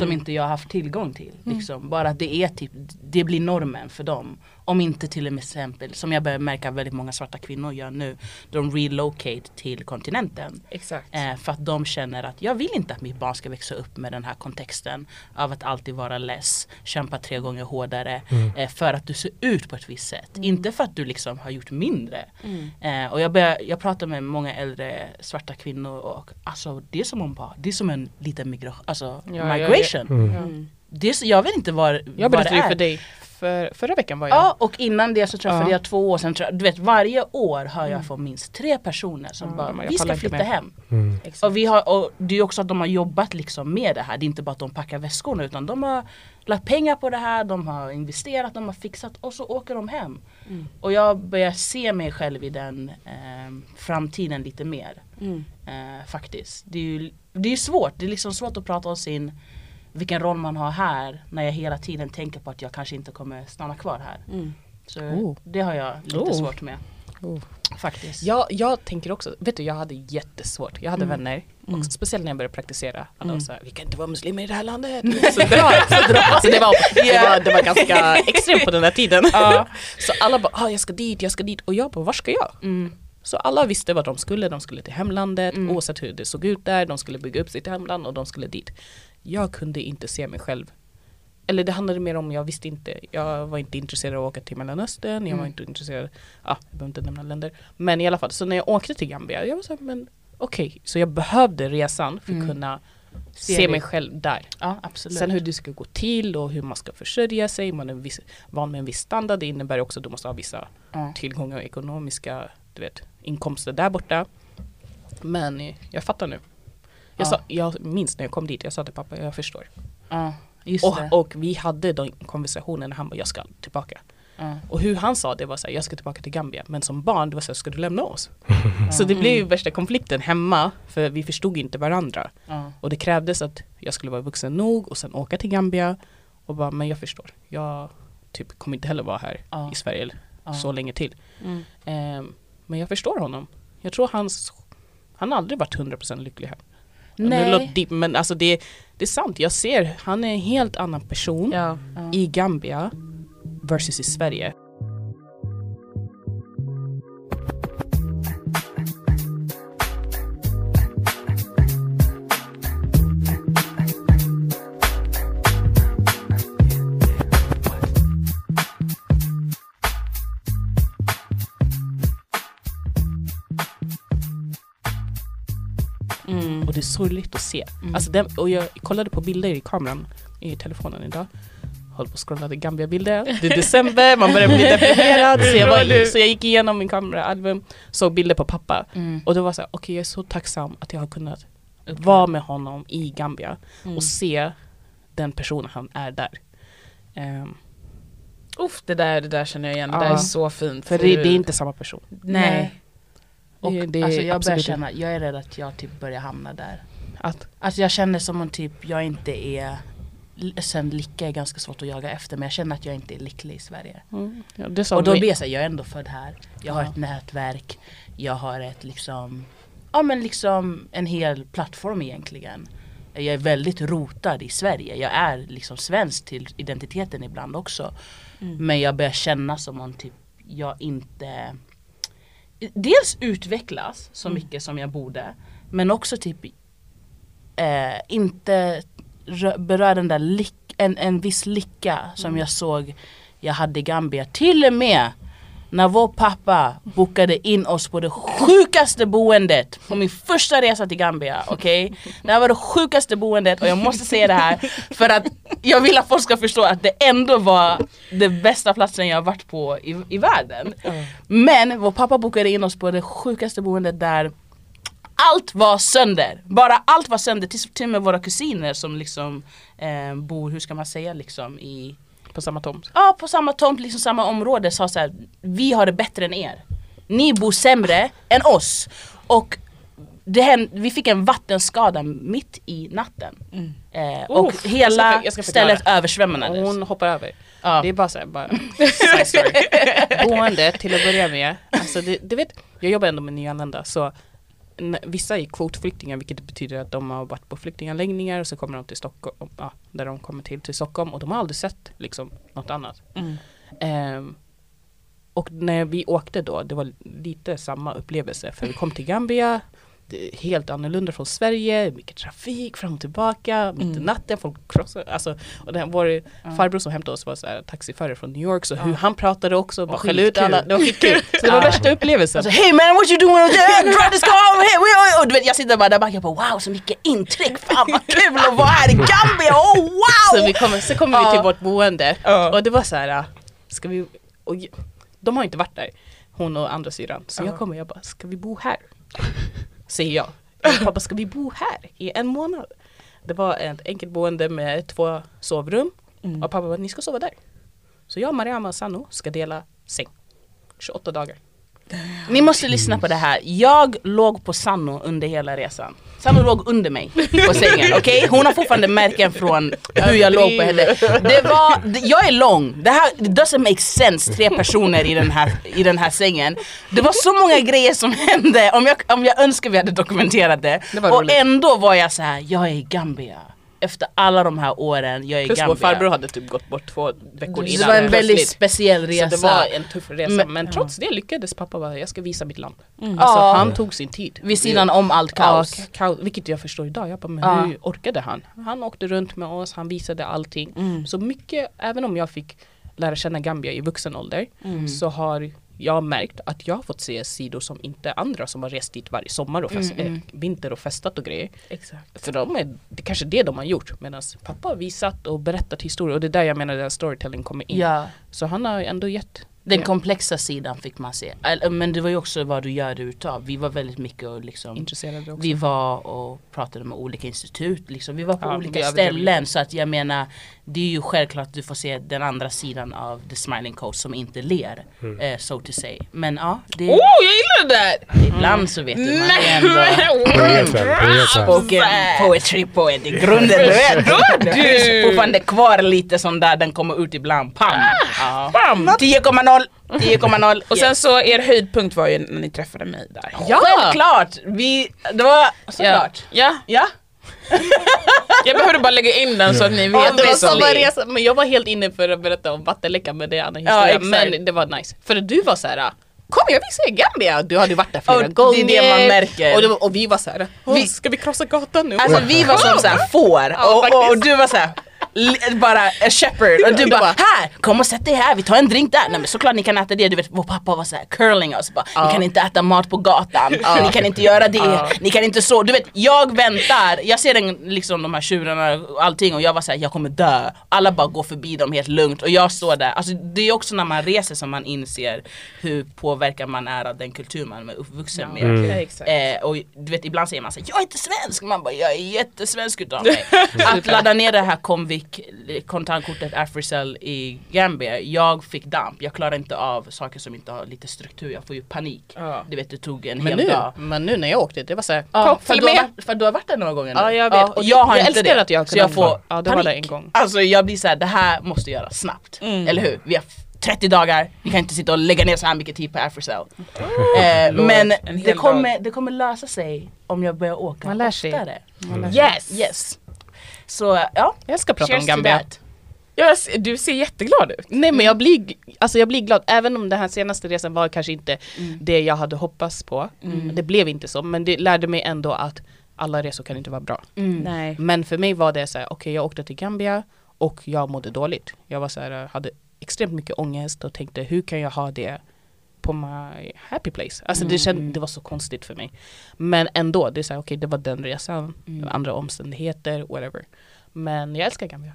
Speaker 3: Som inte jag har haft tillgång till. Liksom. Bara att det är typ, det blir normen för dem. Om inte till och med exempel, som jag börjar märka väldigt många svarta kvinnor gör nu. De relocate till kontinenten.
Speaker 5: Exakt.
Speaker 3: Eh, för att de känner att jag vill inte att mitt barn ska växa upp med den här kontexten av att alltid vara less, kämpa tre gånger hårdare eh, för att du ser ut på ett visst sätt.
Speaker 6: Mm.
Speaker 3: Inte för att du liksom har gjort mindre. Eh, och jag, börjar, jag pratar med många äldre svarta kvinnor och alltså det är som om bara, det är som en liten migra- alltså,
Speaker 6: ja, ja.
Speaker 3: migration.
Speaker 4: Mm.
Speaker 5: Mm.
Speaker 3: Det är så, jag vet inte vad,
Speaker 6: Jag
Speaker 3: vad det
Speaker 6: berättade ju
Speaker 3: är.
Speaker 6: för dig för, förra veckan var jag.
Speaker 3: Ja och innan det så träffade
Speaker 6: Ja. Mm.
Speaker 3: jag två år sedan, tror jag- du vet varje år hör jag från minst tre personer som
Speaker 6: Ja, men
Speaker 3: bara,
Speaker 6: jag
Speaker 3: vi ska
Speaker 6: pallar inte
Speaker 3: flytta
Speaker 6: med."
Speaker 3: hem.
Speaker 4: Mm.
Speaker 5: Exakt.
Speaker 3: Och, vi har, och det är också att de har jobbat liksom med det här. Det är inte bara att de packar väskorna utan de har lagt pengar på det här, de har investerat, de har fixat och så åker de hem.
Speaker 5: Mm.
Speaker 3: Och jag börjar se mig själv i den eh, framtiden lite mer.
Speaker 5: Mm.
Speaker 3: Eh, faktiskt. Det är ju det är svårt, det är liksom svårt att prata om sin vilken roll man har här när jag hela tiden tänker på att jag kanske inte kommer stanna kvar här.
Speaker 5: Mm.
Speaker 3: Så
Speaker 6: Oh.
Speaker 3: det har jag lite
Speaker 6: Oh.
Speaker 3: svårt med.
Speaker 6: Oh.
Speaker 3: Faktiskt.
Speaker 6: Jag, jag tänker också, vet du jag hade jättesvårt, jag hade vänner,
Speaker 5: Mm.
Speaker 6: och speciellt när jag började praktisera, alla var såhär, vi kan inte vara muslimer i det här landet.
Speaker 5: Mm.
Speaker 3: så bra!
Speaker 6: Alltså det, var, det, var, det var ganska extremt på den där tiden. Så alla bara, ah, jag ska dit, jag ska dit, och jag bara, var ska jag?
Speaker 3: Mm.
Speaker 6: Så alla visste vad de skulle, de skulle till hemlandet,
Speaker 3: Mm.
Speaker 6: oavsett hur det såg ut där, de skulle bygga upp sitt hemland och de skulle dit. Jag kunde inte se mig själv. Eller det handlade mer om, jag visste inte, jag var inte intresserad av att åka till Mellanöstern, jag var
Speaker 3: Mm.
Speaker 6: inte intresserad, ah, jag behöver inte nämna länder. Men i alla fall, så när jag åkte till Gambia, jag var såhär, men okej, så jag behövde resan för att
Speaker 3: Mm.
Speaker 6: kunna
Speaker 3: Se
Speaker 6: se
Speaker 3: dig.
Speaker 6: mig själv där.
Speaker 3: Ja absolut.
Speaker 6: Sen hur det ska gå till och hur man ska försörja sig, man är viss, van med en viss standard, det innebär också att du måste ha vissa
Speaker 3: Ja.
Speaker 6: tillgångar och ekonomiska du vet, inkomster där borta. Men eh, jag fattar nu. Jag,
Speaker 3: Ja.
Speaker 6: sa, jag minns när jag kom dit, jag sa till pappa, jag förstår.
Speaker 3: Ja, just det.
Speaker 6: Och, och vi hade den konversationen när han bara, jag ska tillbaka.
Speaker 3: Ja.
Speaker 6: Och hur han sa det var så här, jag ska tillbaka till Gambia. Men som barn, det var så här, ska du lämna oss?
Speaker 3: Mm.
Speaker 6: Så det blev ju värsta konflikten hemma, för vi förstod ju inte varandra.
Speaker 3: Ja.
Speaker 6: Och det krävdes att jag skulle vara vuxen nog och sen åka till Gambia och bara, men jag förstår. Jag typ kommer inte heller vara här
Speaker 3: Ja.
Speaker 6: i Sverige
Speaker 3: Ja.
Speaker 6: så länge till.
Speaker 3: Mm.
Speaker 6: Ehm, men jag förstår honom. Jag tror hans, han har aldrig varit 100% lycklig här.
Speaker 3: Nej.
Speaker 6: Det låter deep, men alltså det, det är sant. Jag ser, han är en helt annan person
Speaker 5: Ja.
Speaker 6: i Gambia versus i Sverige. Och det är sorgligt att se. Alltså den, och jag kollade på bilder i kameran, i telefonen idag. Höll på och scrollade Gambia-bilder. Det är december, man börjar bli deprimerad. Så jag, var, så jag gick igenom min kameraalbum, såg bilder på pappa.
Speaker 3: Mm.
Speaker 6: Och det var så här, okej jag är så tacksam att jag har kunnat vara med honom i Gambia
Speaker 3: Mm.
Speaker 6: och se den person han är där. Ehm,
Speaker 5: Uff, det där, det där känner jag igen, det där
Speaker 6: Ja.
Speaker 5: är så fint.
Speaker 6: för det, det är inte samma person.
Speaker 5: Nej.
Speaker 3: Och
Speaker 6: det, det är
Speaker 3: alltså jag börjar
Speaker 6: absolut-
Speaker 3: känna, jag är rädd att jag typ börjar hamna där.
Speaker 6: Att,
Speaker 3: Alltså jag känner som om typ jag inte är, sen lycka är ganska svårt att jaga efter men jag känner att jag inte är lycklig i Sverige.
Speaker 6: mm, ja, det sa
Speaker 3: Och då
Speaker 6: vi-
Speaker 3: blir jag såhär, jag är ändå född här, jag har
Speaker 6: Ja.
Speaker 3: ett nätverk, jag har ett liksom, ja men liksom en hel plattform egentligen. Jag är väldigt rotad i Sverige. Jag är liksom svensk till identiteten ibland också.
Speaker 5: Mm.
Speaker 3: Men jag börjar känna som om typ jag inte Dels utvecklas så
Speaker 5: Mm.
Speaker 3: mycket som jag borde Men också typ eh, inte rö- berör den där lyck- en, en viss lycka som jag såg jag hade i Gambia Till och med när vår pappa bokade in oss på det sjukaste boendet på min första resa till Gambia, okej? Det här var det sjukaste boendet och jag måste säga det här för att jag vill att folk ska förstå att det ändå var den bästa platsen jag har varit på i, i världen. Men vår pappa bokade in oss på det sjukaste boendet där allt var sönder, bara allt var sönder, till, till och med våra kusiner som liksom eh, bor, hur ska man säga liksom i
Speaker 6: På samma tomt.
Speaker 3: Ja på samma tomt, liksom samma område sa så här, vi har det bättre än er. Ni bor sämre än oss. Och det hände, vi fick en vattenskada mitt i natten. Eh, och
Speaker 6: Uff, Mm. jag ska-
Speaker 3: hela
Speaker 6: jag ska förklara.
Speaker 3: stället översvämmades.
Speaker 6: Hon hoppar över.
Speaker 3: ja.
Speaker 6: Det är bara såhär, bara side story. Boende till att börja med. Alltså det, du vet, jag jobbar ändå med nyanlända så n- vissa är kvotflyktingar vilket betyder att de har varit på flyktinganläggningar och så kommer de till Stockholm, ja, där de kommer till, till Stockholm och de har aldrig sett liksom, något annat.
Speaker 5: Mm.
Speaker 6: Ehm, och när vi åkte då, det var lite samma upplevelse för vi kom till Gambia det är helt annorlunda från Sverige, mycket trafik fram och tillbaka, mitt i
Speaker 5: Mm.
Speaker 6: natten, folk krossar, alltså och den, vår farbror som hämtade oss var så här, taxiförare från New York så hur han pratade också, bara skällde ut alla, det var skitkul. Så det var
Speaker 3: Ja.
Speaker 6: värsta upplevelsen.
Speaker 3: Alltså hey man what you doing over there? Drive this car over here! Oj, oj, oj. Du vet, jag sitter bara där bak, jag bara wow så mycket intryck, fan vad kul att vara här i Gambia, oh
Speaker 6: Så,
Speaker 3: wow!
Speaker 6: vi kommer, så kommer vi till
Speaker 3: Ja.
Speaker 6: vårt boende
Speaker 5: Ja.
Speaker 6: och det var så här, ska vi, och j- de har inte varit där, hon och andra syran. Så jag kommer och jag bara, ska vi bo här? Säger jag. Min pappa, ska vi bo här i en månad? Det var ett enkelt boende med två sovrum
Speaker 5: Mm.
Speaker 6: och pappa bara, ni ska sova där. Så jag, Mariam och Sano ska dela säng. 28 dagar.
Speaker 3: Ni måste lyssna på det här. Jag låg på Sanno under hela resan. Sanno låg under mig på sängen, okej? Hon har fortfarande märken från hur jag låg på henne. Det var, det- jag är lång, det här it doesn't make sense, tre personer i den, här, i den här sängen. Det var så många grejer som hände, om jag, om jag önskar vi hade dokumenterat det.
Speaker 6: Det var
Speaker 3: och
Speaker 6: roligt.
Speaker 3: ändå var jag så här, jag är i Gambia. Efter alla de här åren, jag är i
Speaker 6: Plus
Speaker 3: Gambia. Mm.
Speaker 6: vår farbror hade typ gått bort två veckor innan.
Speaker 3: det var en väldigt
Speaker 6: plötsligt.
Speaker 3: speciell resa.
Speaker 6: Så det var en tuff resa. Men,
Speaker 3: Men-
Speaker 6: trots det lyckades pappa bara, jag ska visa mitt land.
Speaker 5: Mm.
Speaker 6: Alltså
Speaker 3: Ja.
Speaker 6: han tog sin tid.
Speaker 3: Vid sidan om allt kaos.
Speaker 6: Ja, kaos. Vilket jag förstår idag. Jag bara, men
Speaker 3: Ja.
Speaker 6: hur orkade han? Han åkte runt med oss, han visade allting.
Speaker 5: Mm.
Speaker 6: Så mycket, även om jag fick lära känna Gambia i vuxen ålder,
Speaker 3: Mm.
Speaker 6: så har jag märkt att jag har fått se sidor som inte andra som har rest dit varje sommar och fest,
Speaker 3: Mm, mm.
Speaker 6: eh, vinter och festat och grejer.
Speaker 5: Exakt.
Speaker 6: För de är, det är kanske det de har gjort medan pappa har visat och berättat historier och det är där jag menar där storytelling kommer in.
Speaker 3: Ja.
Speaker 6: Så han har ju ändå gett
Speaker 3: Den
Speaker 6: Ja.
Speaker 3: komplexa sidan fick man se. Eller, Men det var ju också vad du gör det utav. Vi var väldigt mycket och liksom
Speaker 6: intresserade också.
Speaker 3: vi var och pratade med olika institut, liksom. vi var på
Speaker 6: Ja,
Speaker 3: olika
Speaker 6: vi överdrev
Speaker 3: ställen så att jag menar det är ju självklart att du får se den andra sidan av the smiling coast som inte ler, eh, so to say. Men ja, det,
Speaker 5: Oh jag gillar det där!
Speaker 3: ibland så vet du man det är ändå
Speaker 4: Poeten, poeten.
Speaker 3: spoken poetry poet i grunden, du vet. Det finns fortfarande kvar lite sån där, den kommer ut ibland, pam! Ja. 10,0, 10,0.
Speaker 5: Och sen så er höjdpunkt var ju när ni träffade mig där.
Speaker 3: Ja! Självklart! Vi, det var såklart.
Speaker 5: Ja,
Speaker 3: Ja.
Speaker 5: jag behövde bara lägga in den så att ni
Speaker 6: Ja,
Speaker 5: vet
Speaker 6: det var
Speaker 5: liksom.
Speaker 6: samma resa, men jag var helt inne för att berätta om vattenläckan men det är en annan
Speaker 3: Ja,
Speaker 6: historia.
Speaker 3: exakt.
Speaker 6: men det var nice. För du var så här. Kom jag visar er Gambia! Du hade varit där flera
Speaker 3: Och det är
Speaker 6: gånger.
Speaker 3: det man märker.
Speaker 6: Och, det var, och vi var så här. "Åh,
Speaker 3: Vi-
Speaker 6: ska vi krossa gatan nu?
Speaker 3: Alltså vi var som såhär får och, och, och du var såhär li- bara a shepherd och du bara här, kom och sätt dig här, vi tar en drink där. Nej men såklart ni kan äta det, du vet vår pappa var såhär curling oss bara, ni kan inte äta mat på gatan, ni kan inte göra det, ni kan inte så. Du vet jag väntar, jag ser den, liksom de här tjurarna och allting och jag var såhär jag kommer dö. Alla bara går förbi dem helt lugnt och jag står där. Alltså det är också när man reser som man inser hur påverkad man är av den kultur man är uppvuxen med.
Speaker 5: Ja, Mm. exakt.
Speaker 3: Eh, och du vet ibland säger man så här, jag är inte svensk, man bara jag är jättesvensk utav mig. Att ladda ner det här Comviq kontantkortet Africell i Gambia, jag fick damp, jag klarar inte av saker som inte har lite struktur, jag får ju panik.
Speaker 5: Ja.
Speaker 3: Du vet det tog en
Speaker 6: men,
Speaker 3: hel
Speaker 6: nu,
Speaker 3: dag.
Speaker 6: men nu när jag åkte, det var så här.
Speaker 3: Ja,
Speaker 6: Kom,
Speaker 3: för,
Speaker 6: följ
Speaker 3: du har
Speaker 6: med!
Speaker 3: varit, för du har varit där några gånger nu.
Speaker 6: Ja jag vet.
Speaker 3: och
Speaker 6: Och
Speaker 3: jag har
Speaker 6: jag
Speaker 3: inte
Speaker 6: älskar
Speaker 3: det.
Speaker 6: att jag
Speaker 3: så jag
Speaker 6: kunde
Speaker 3: får
Speaker 6: Ja det var
Speaker 3: panik.
Speaker 6: där en gång.
Speaker 3: Alltså jag blir så här, det här måste göras snabbt.
Speaker 5: Mm.
Speaker 3: Eller hur? Vi har f- 30 dagar, vi kan inte sitta och lägga ner så här mycket tid på Africell. Eh, men
Speaker 5: en hel
Speaker 3: det
Speaker 5: dag.
Speaker 3: kommer, det kommer lösa sig om jag börjar åka
Speaker 6: Man lär sig.
Speaker 3: oftare.
Speaker 4: Mm.
Speaker 3: Yes! yes. Så ja,
Speaker 6: Jag ska prata
Speaker 3: cheers
Speaker 6: om
Speaker 3: to
Speaker 6: Gambia.
Speaker 3: that.
Speaker 5: Jag ser- du ser jätteglad ut.
Speaker 6: Nej
Speaker 3: Mm.
Speaker 6: men jag blir, alltså jag blir glad, även om den här senaste resan var kanske inte
Speaker 3: Mm.
Speaker 6: det jag hade hoppats på.
Speaker 3: Mm.
Speaker 6: Det blev inte så, men det lärde mig ändå att alla resor kan inte vara bra.
Speaker 3: Mm.
Speaker 5: Nej.
Speaker 6: Men för mig var det så här, okej jag åkte till Gambia och jag mådde dåligt. Jag var så här, hade extremt mycket ångest och tänkte hur kan jag ha det på my happy place? Alltså det,
Speaker 3: Mm.
Speaker 6: känd, det var så konstigt för mig. Men ändå, det är så här, okej det var den resan,
Speaker 3: Mm.
Speaker 6: det var andra omständigheter, whatever. Men jag älskar Gambia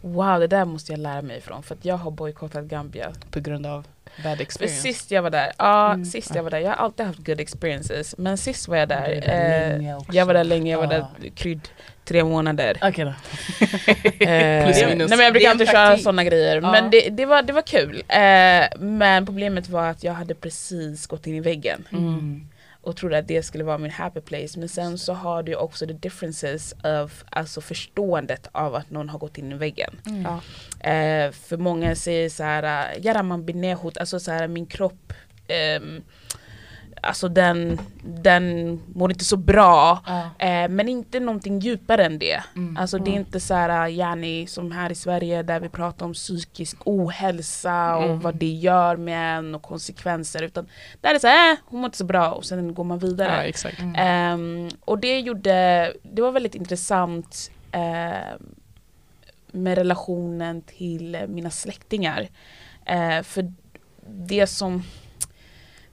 Speaker 5: Wow, det där måste jag lära mig ifrån för att jag har bojkottat Gambia.
Speaker 6: på grund av bad
Speaker 5: För
Speaker 6: experience.
Speaker 5: sist jag var där, ja
Speaker 3: Mm.
Speaker 5: sist jag var där, jag har alltid haft good experiences men sist var jag
Speaker 3: Du
Speaker 5: där,
Speaker 3: var där
Speaker 5: eh,
Speaker 3: länge också.
Speaker 5: jag var där länge, jag var
Speaker 3: Ja.
Speaker 5: där krydd tre månader.
Speaker 3: Okej då.
Speaker 5: Eh,
Speaker 3: Plus
Speaker 5: nej
Speaker 3: minus.
Speaker 5: men jag
Speaker 3: Det är
Speaker 5: brukar
Speaker 3: en
Speaker 5: inte köra
Speaker 3: taktik.
Speaker 5: sådana grejer
Speaker 3: Ja.
Speaker 5: men det, det, var, det var kul. Eh, men problemet var att jag hade precis gått in i väggen
Speaker 3: Mm.
Speaker 5: och trodde att det skulle vara min happy place men sen så har du också the differences of alltså förståendet av att någon har gått in i väggen.
Speaker 6: Mm.
Speaker 3: Ja.
Speaker 5: Eh, för många säger så här, eh, Yaraman binehut, alltså så här min kropp ehm, Alltså den, den mår inte så bra
Speaker 3: Ja.
Speaker 5: eh, men inte någonting djupare än det.
Speaker 3: Mm.
Speaker 5: Alltså det är inte så här äh, yani, som här i Sverige där vi pratar om psykisk ohälsa och
Speaker 3: Mm.
Speaker 5: vad det gör med en och konsekvenser utan där är det så här, äh, hon mår inte så bra och sen går man vidare.
Speaker 6: Ja, exakt.
Speaker 5: Ehm, och det gjorde, det var väldigt intressant ehm, med relationen till mina släktingar. Eh, för det som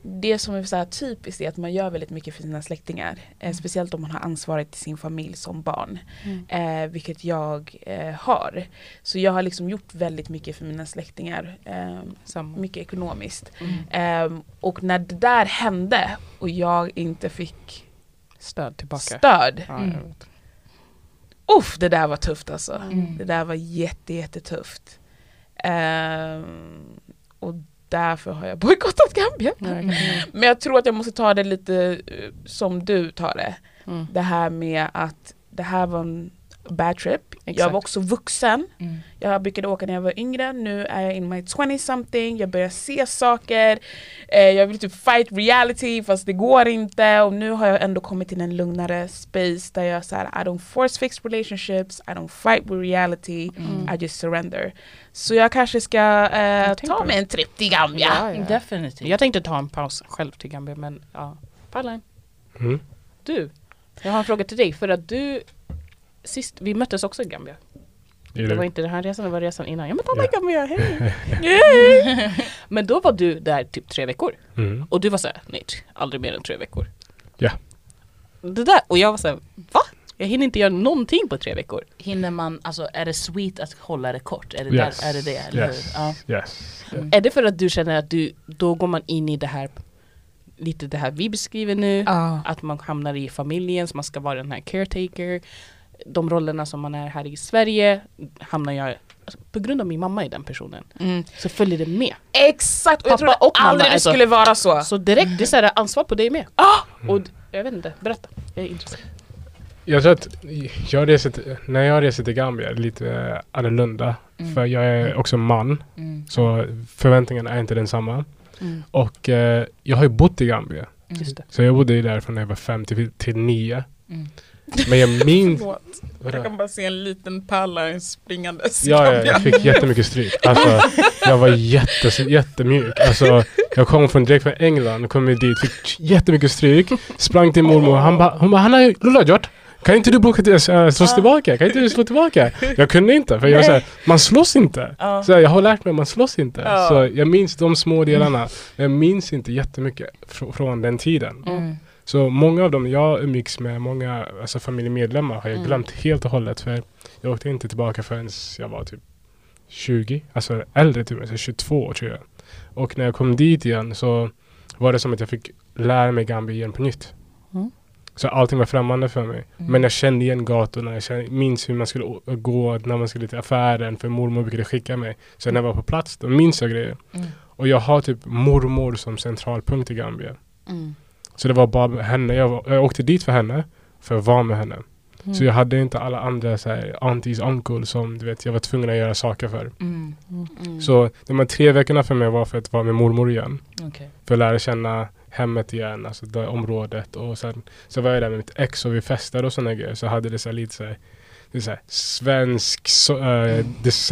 Speaker 5: det som är så här typiskt är att man gör väldigt mycket för sina släktingar. Eh, speciellt om man har ansvaret till sin familj som barn. Eh, vilket jag eh, har. Så jag har liksom gjort väldigt mycket för mina släktingar. ehm,
Speaker 6: Samma.
Speaker 5: mycket ekonomiskt. Ehm, och när det där hände och jag inte fick
Speaker 6: Stöd tillbaka.
Speaker 5: stöd. Mm.
Speaker 6: Ja, jag vet.
Speaker 5: Uff, det där var tufft alltså.
Speaker 3: Mm.
Speaker 5: Det där var jätte, jättetufft. Ehm, och därför har jag bojkottat Gambia. Men jag tror att jag måste ta det lite eh, som du tar det.
Speaker 6: Mm.
Speaker 5: Det här med att det här var en bad trip. Jag
Speaker 6: Exakt.
Speaker 5: var också vuxen.
Speaker 3: Mm.
Speaker 5: Jag brukade åka när jag var yngre, nu är jag in my 20 something, jag börjar se saker, eh, jag vill typ fight reality fast det går inte och nu har jag ändå kommit till en lugnare space där jag såhär I don't force fix relationships, I don't fight with reality, I just surrender. Så jag kanske ska eh,
Speaker 6: tänk på
Speaker 5: ta
Speaker 6: det.
Speaker 5: mig en trip till Gambia.
Speaker 3: Definitivt.
Speaker 6: Jag tänkte ta en paus själv till Gambia men ja. Parline,
Speaker 4: Mm.
Speaker 6: du. Jag har en fråga till dig för att du Sist, vi möttes också i Gambia.
Speaker 4: Är
Speaker 6: Det var
Speaker 5: Mm.
Speaker 4: du?
Speaker 6: inte den här resan, det var resan innan. Jag mötte alla i
Speaker 4: Mm. Ja.
Speaker 6: Gambia, hej! Yay! Men då var du där typ tre veckor.
Speaker 4: Mm.
Speaker 6: Och du var såhär, nej, t- aldrig mer än tre veckor.
Speaker 4: Ja.
Speaker 6: Det där, och jag var såhär, va? Jag hinner inte göra någonting på tre veckor.
Speaker 3: Hinner man, alltså är det sweet att hålla det kort? Är det
Speaker 4: Yes.
Speaker 3: där, är det, det eller hur?
Speaker 4: Yes.
Speaker 3: Ja.
Speaker 4: Yes.
Speaker 5: Mm.
Speaker 6: Är det för att du känner att du, då går man in i det här, lite det här vi beskriver nu.
Speaker 5: Ja.
Speaker 6: Att man hamnar i familjen, så man ska vara den här caretaker. De rollerna som man är här i Sverige hamnar jag, alltså, på grund av min mamma är den personen,
Speaker 5: Mm.
Speaker 6: så följer det med.
Speaker 5: Exakt! Och alltså. jag
Speaker 6: Pappa
Speaker 5: trodde
Speaker 6: och mamma
Speaker 5: aldrig det
Speaker 6: är så-
Speaker 5: skulle vara så.
Speaker 4: Mm.
Speaker 6: Så direkt, det är så här, ansvar på dig med.
Speaker 5: Ah!
Speaker 6: Och d- jag vet inte, berätta. Jag är intresserad.
Speaker 4: Jag tror att jag reser till, när jag reser till Gambia är det lite eh, annorlunda.
Speaker 5: Mm.
Speaker 4: För jag är också man.
Speaker 3: Mm.
Speaker 4: Så förväntningarna är inte densamma.
Speaker 3: Mm.
Speaker 4: Och eh, jag har ju bott i Gambia.
Speaker 5: Mm.
Speaker 6: Just det.
Speaker 4: Så jag bodde ju där från när jag var fem till, till nio.
Speaker 3: Mm.
Speaker 4: Men jag minns...
Speaker 9: Jag
Speaker 4: Vadå?
Speaker 9: kan bara se en liten pärla springandes.
Speaker 4: Ja, ja, jag fick jättemycket stryk. Alltså, jag var jätte, jättemjuk. Alltså, jag kom från, direkt från England, kom ju dit, fick jättemycket stryk. Sprang till mormor, han bara, hon bara, han har ju rullat gjort. Kan inte du boka till, äh, slåss tillbaka? Kan inte du slå tillbaka? Jag kunde inte, för jag var såhär, man slåss inte.
Speaker 9: Ja.
Speaker 4: Så jag har lärt mig, man slåss inte.
Speaker 9: Ja.
Speaker 4: Så jag minns de små delarna, men jag minns inte jättemycket fr- från den tiden.
Speaker 3: Mm.
Speaker 4: Så många av dem jag umgicks med, många alltså familjemedlemmar har jag glömt helt och hållet. För jag åkte inte tillbaka förrän jag var typ 20, alltså äldre typ, alltså 22 tror jag. Och när jag kom dit igen så var det som att jag fick lära mig Gambia igen på nytt.
Speaker 6: Mm.
Speaker 4: Så allting var främmande för mig.
Speaker 3: Mm.
Speaker 4: Men jag kände igen gatorna, jag kände, minns hur man skulle å- gå när man skulle till affären för mormor brukade skicka mig. Så när jag var på plats då minns jag grejer.
Speaker 3: Mm.
Speaker 4: Och jag har typ mormor som centralpunkt i Gambia. Så det var bara henne, jag, var, jag åkte dit för henne, för att vara med henne. Så jag hade inte alla andra så här, aunties, uncle som du vet, jag var tvungen att göra saker för.
Speaker 3: Mm.
Speaker 4: Så de här tre veckorna för mig var för att vara med mormor igen.
Speaker 3: Okej.
Speaker 4: För att lära känna hemmet igen, alltså det området. Och sen så var jag där med mitt ex och vi festade och sådana grejer. Så jag hade det så här, lite så här, det är så här, svensk so, eh,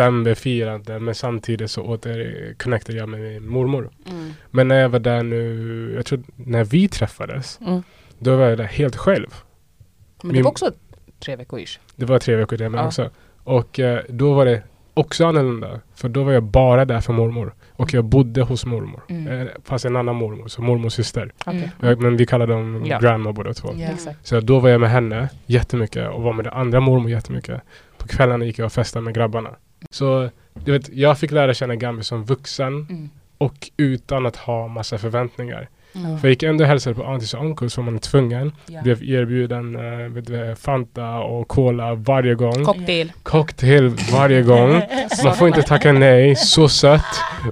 Speaker 4: decemberfirande men samtidigt så återconnectade jag med min mormor.
Speaker 3: Mm.
Speaker 4: Men när jag var där nu, jag tror när vi träffades,
Speaker 6: Mm.
Speaker 4: då var jag där helt själv.
Speaker 6: Men det
Speaker 4: Min-
Speaker 6: var också tre veckor ish.
Speaker 4: Det var tre veckor där men
Speaker 6: Ja.
Speaker 4: också. Och eh, då var det också annorlunda. För då var jag bara där för mormor. Och jag bodde hos mormor.
Speaker 6: Mm.
Speaker 4: Eh, Fast en annan mormor, så mormors syster.
Speaker 5: Mm.
Speaker 6: Okej.
Speaker 4: Eh, Men vi kallar dem
Speaker 6: Ja.
Speaker 4: grandma båda två.
Speaker 3: Ja.
Speaker 6: Exakt.
Speaker 4: Så då var jag med henne jättemycket och var med den andra mormor jättemycket. På kvällarna gick jag och festade med grabbarna. Så du vet, jag fick lära känna Gambi som vuxen
Speaker 6: Mm.
Speaker 4: och utan att ha massa förväntningar.
Speaker 3: Mm.
Speaker 4: För jag gick ändå och hälsade på aunties och uncles som man är tvungen.
Speaker 3: Ja.
Speaker 4: Blev erbjuden eh, vet du, Fanta och Cola varje gång.
Speaker 6: Cocktail.
Speaker 4: Cocktail varje gång. Man får inte tacka nej, så sött.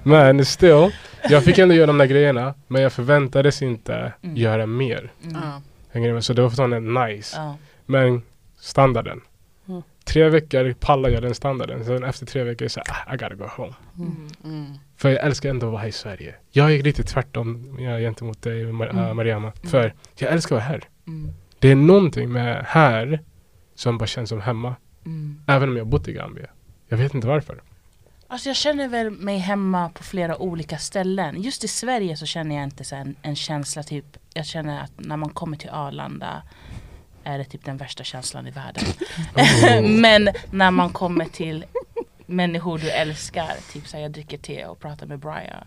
Speaker 4: Men still, jag fick ändå göra de där grejerna. Men jag förväntades inte
Speaker 3: Mm.
Speaker 4: göra mer.
Speaker 3: Mm.
Speaker 6: Ja.
Speaker 4: Hänger du med? Så det var fortfarande nice.
Speaker 3: Ja.
Speaker 4: Men standarden.
Speaker 6: Mm.
Speaker 4: Tre veckor pallar jag den standarden. Sen efter tre veckor är det så här, ah, I gotta go home.
Speaker 6: Mm.
Speaker 3: Mm.
Speaker 4: För jag älskar ändå att vara här i Sverige. Jag är lite tvärtom ja, gentemot dig Mar-
Speaker 6: Mm.
Speaker 4: äh, Mariama. För jag älskar att vara här.
Speaker 3: Mm.
Speaker 4: Det är någonting med här som bara känns som hemma.
Speaker 3: Mm.
Speaker 4: Även om jag bott i Gambia. Jag vet inte varför.
Speaker 3: Alltså jag känner väl mig hemma på flera olika ställen. Just i Sverige så känner jag inte så här en, en känsla typ, jag känner att när man kommer till Arlanda är det typ den värsta känslan i världen.
Speaker 4: Oh.
Speaker 6: Mm.
Speaker 3: Men när man kommer till människor du älskar, typ så här, jag dricker te och pratar med Brian.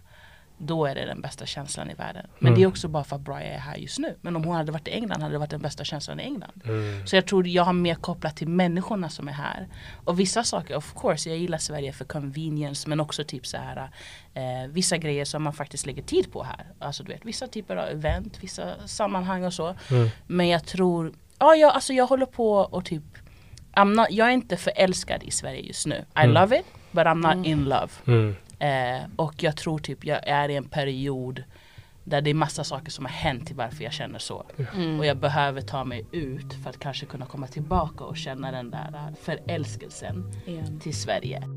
Speaker 3: Då är det den bästa känslan i världen. Men
Speaker 4: Mm.
Speaker 3: det är också bara för att Brian är här just nu. Men om hon hade varit i England hade det varit den bästa känslan i England.
Speaker 4: Mm.
Speaker 3: Så jag tror jag har mer kopplat till människorna som är här. Och vissa saker, of course, jag gillar Sverige för convenience men också typ så här eh, vissa grejer som man faktiskt lägger tid på här. Alltså du vet, vissa typer av event, vissa sammanhang och så.
Speaker 4: Mm.
Speaker 3: Men jag tror, ja jag, alltså jag håller på och typ I'm not, jag är inte förälskad i Sverige just nu. I
Speaker 4: Mm.
Speaker 3: love it, but I'm not in love.
Speaker 4: Mm.
Speaker 3: Eh, och jag tror typ jag är i en period där det är massa saker som har hänt till varför jag känner så. Och jag behöver ta mig ut för att kanske kunna komma tillbaka och känna den där eh, förälskelsen till Sverige.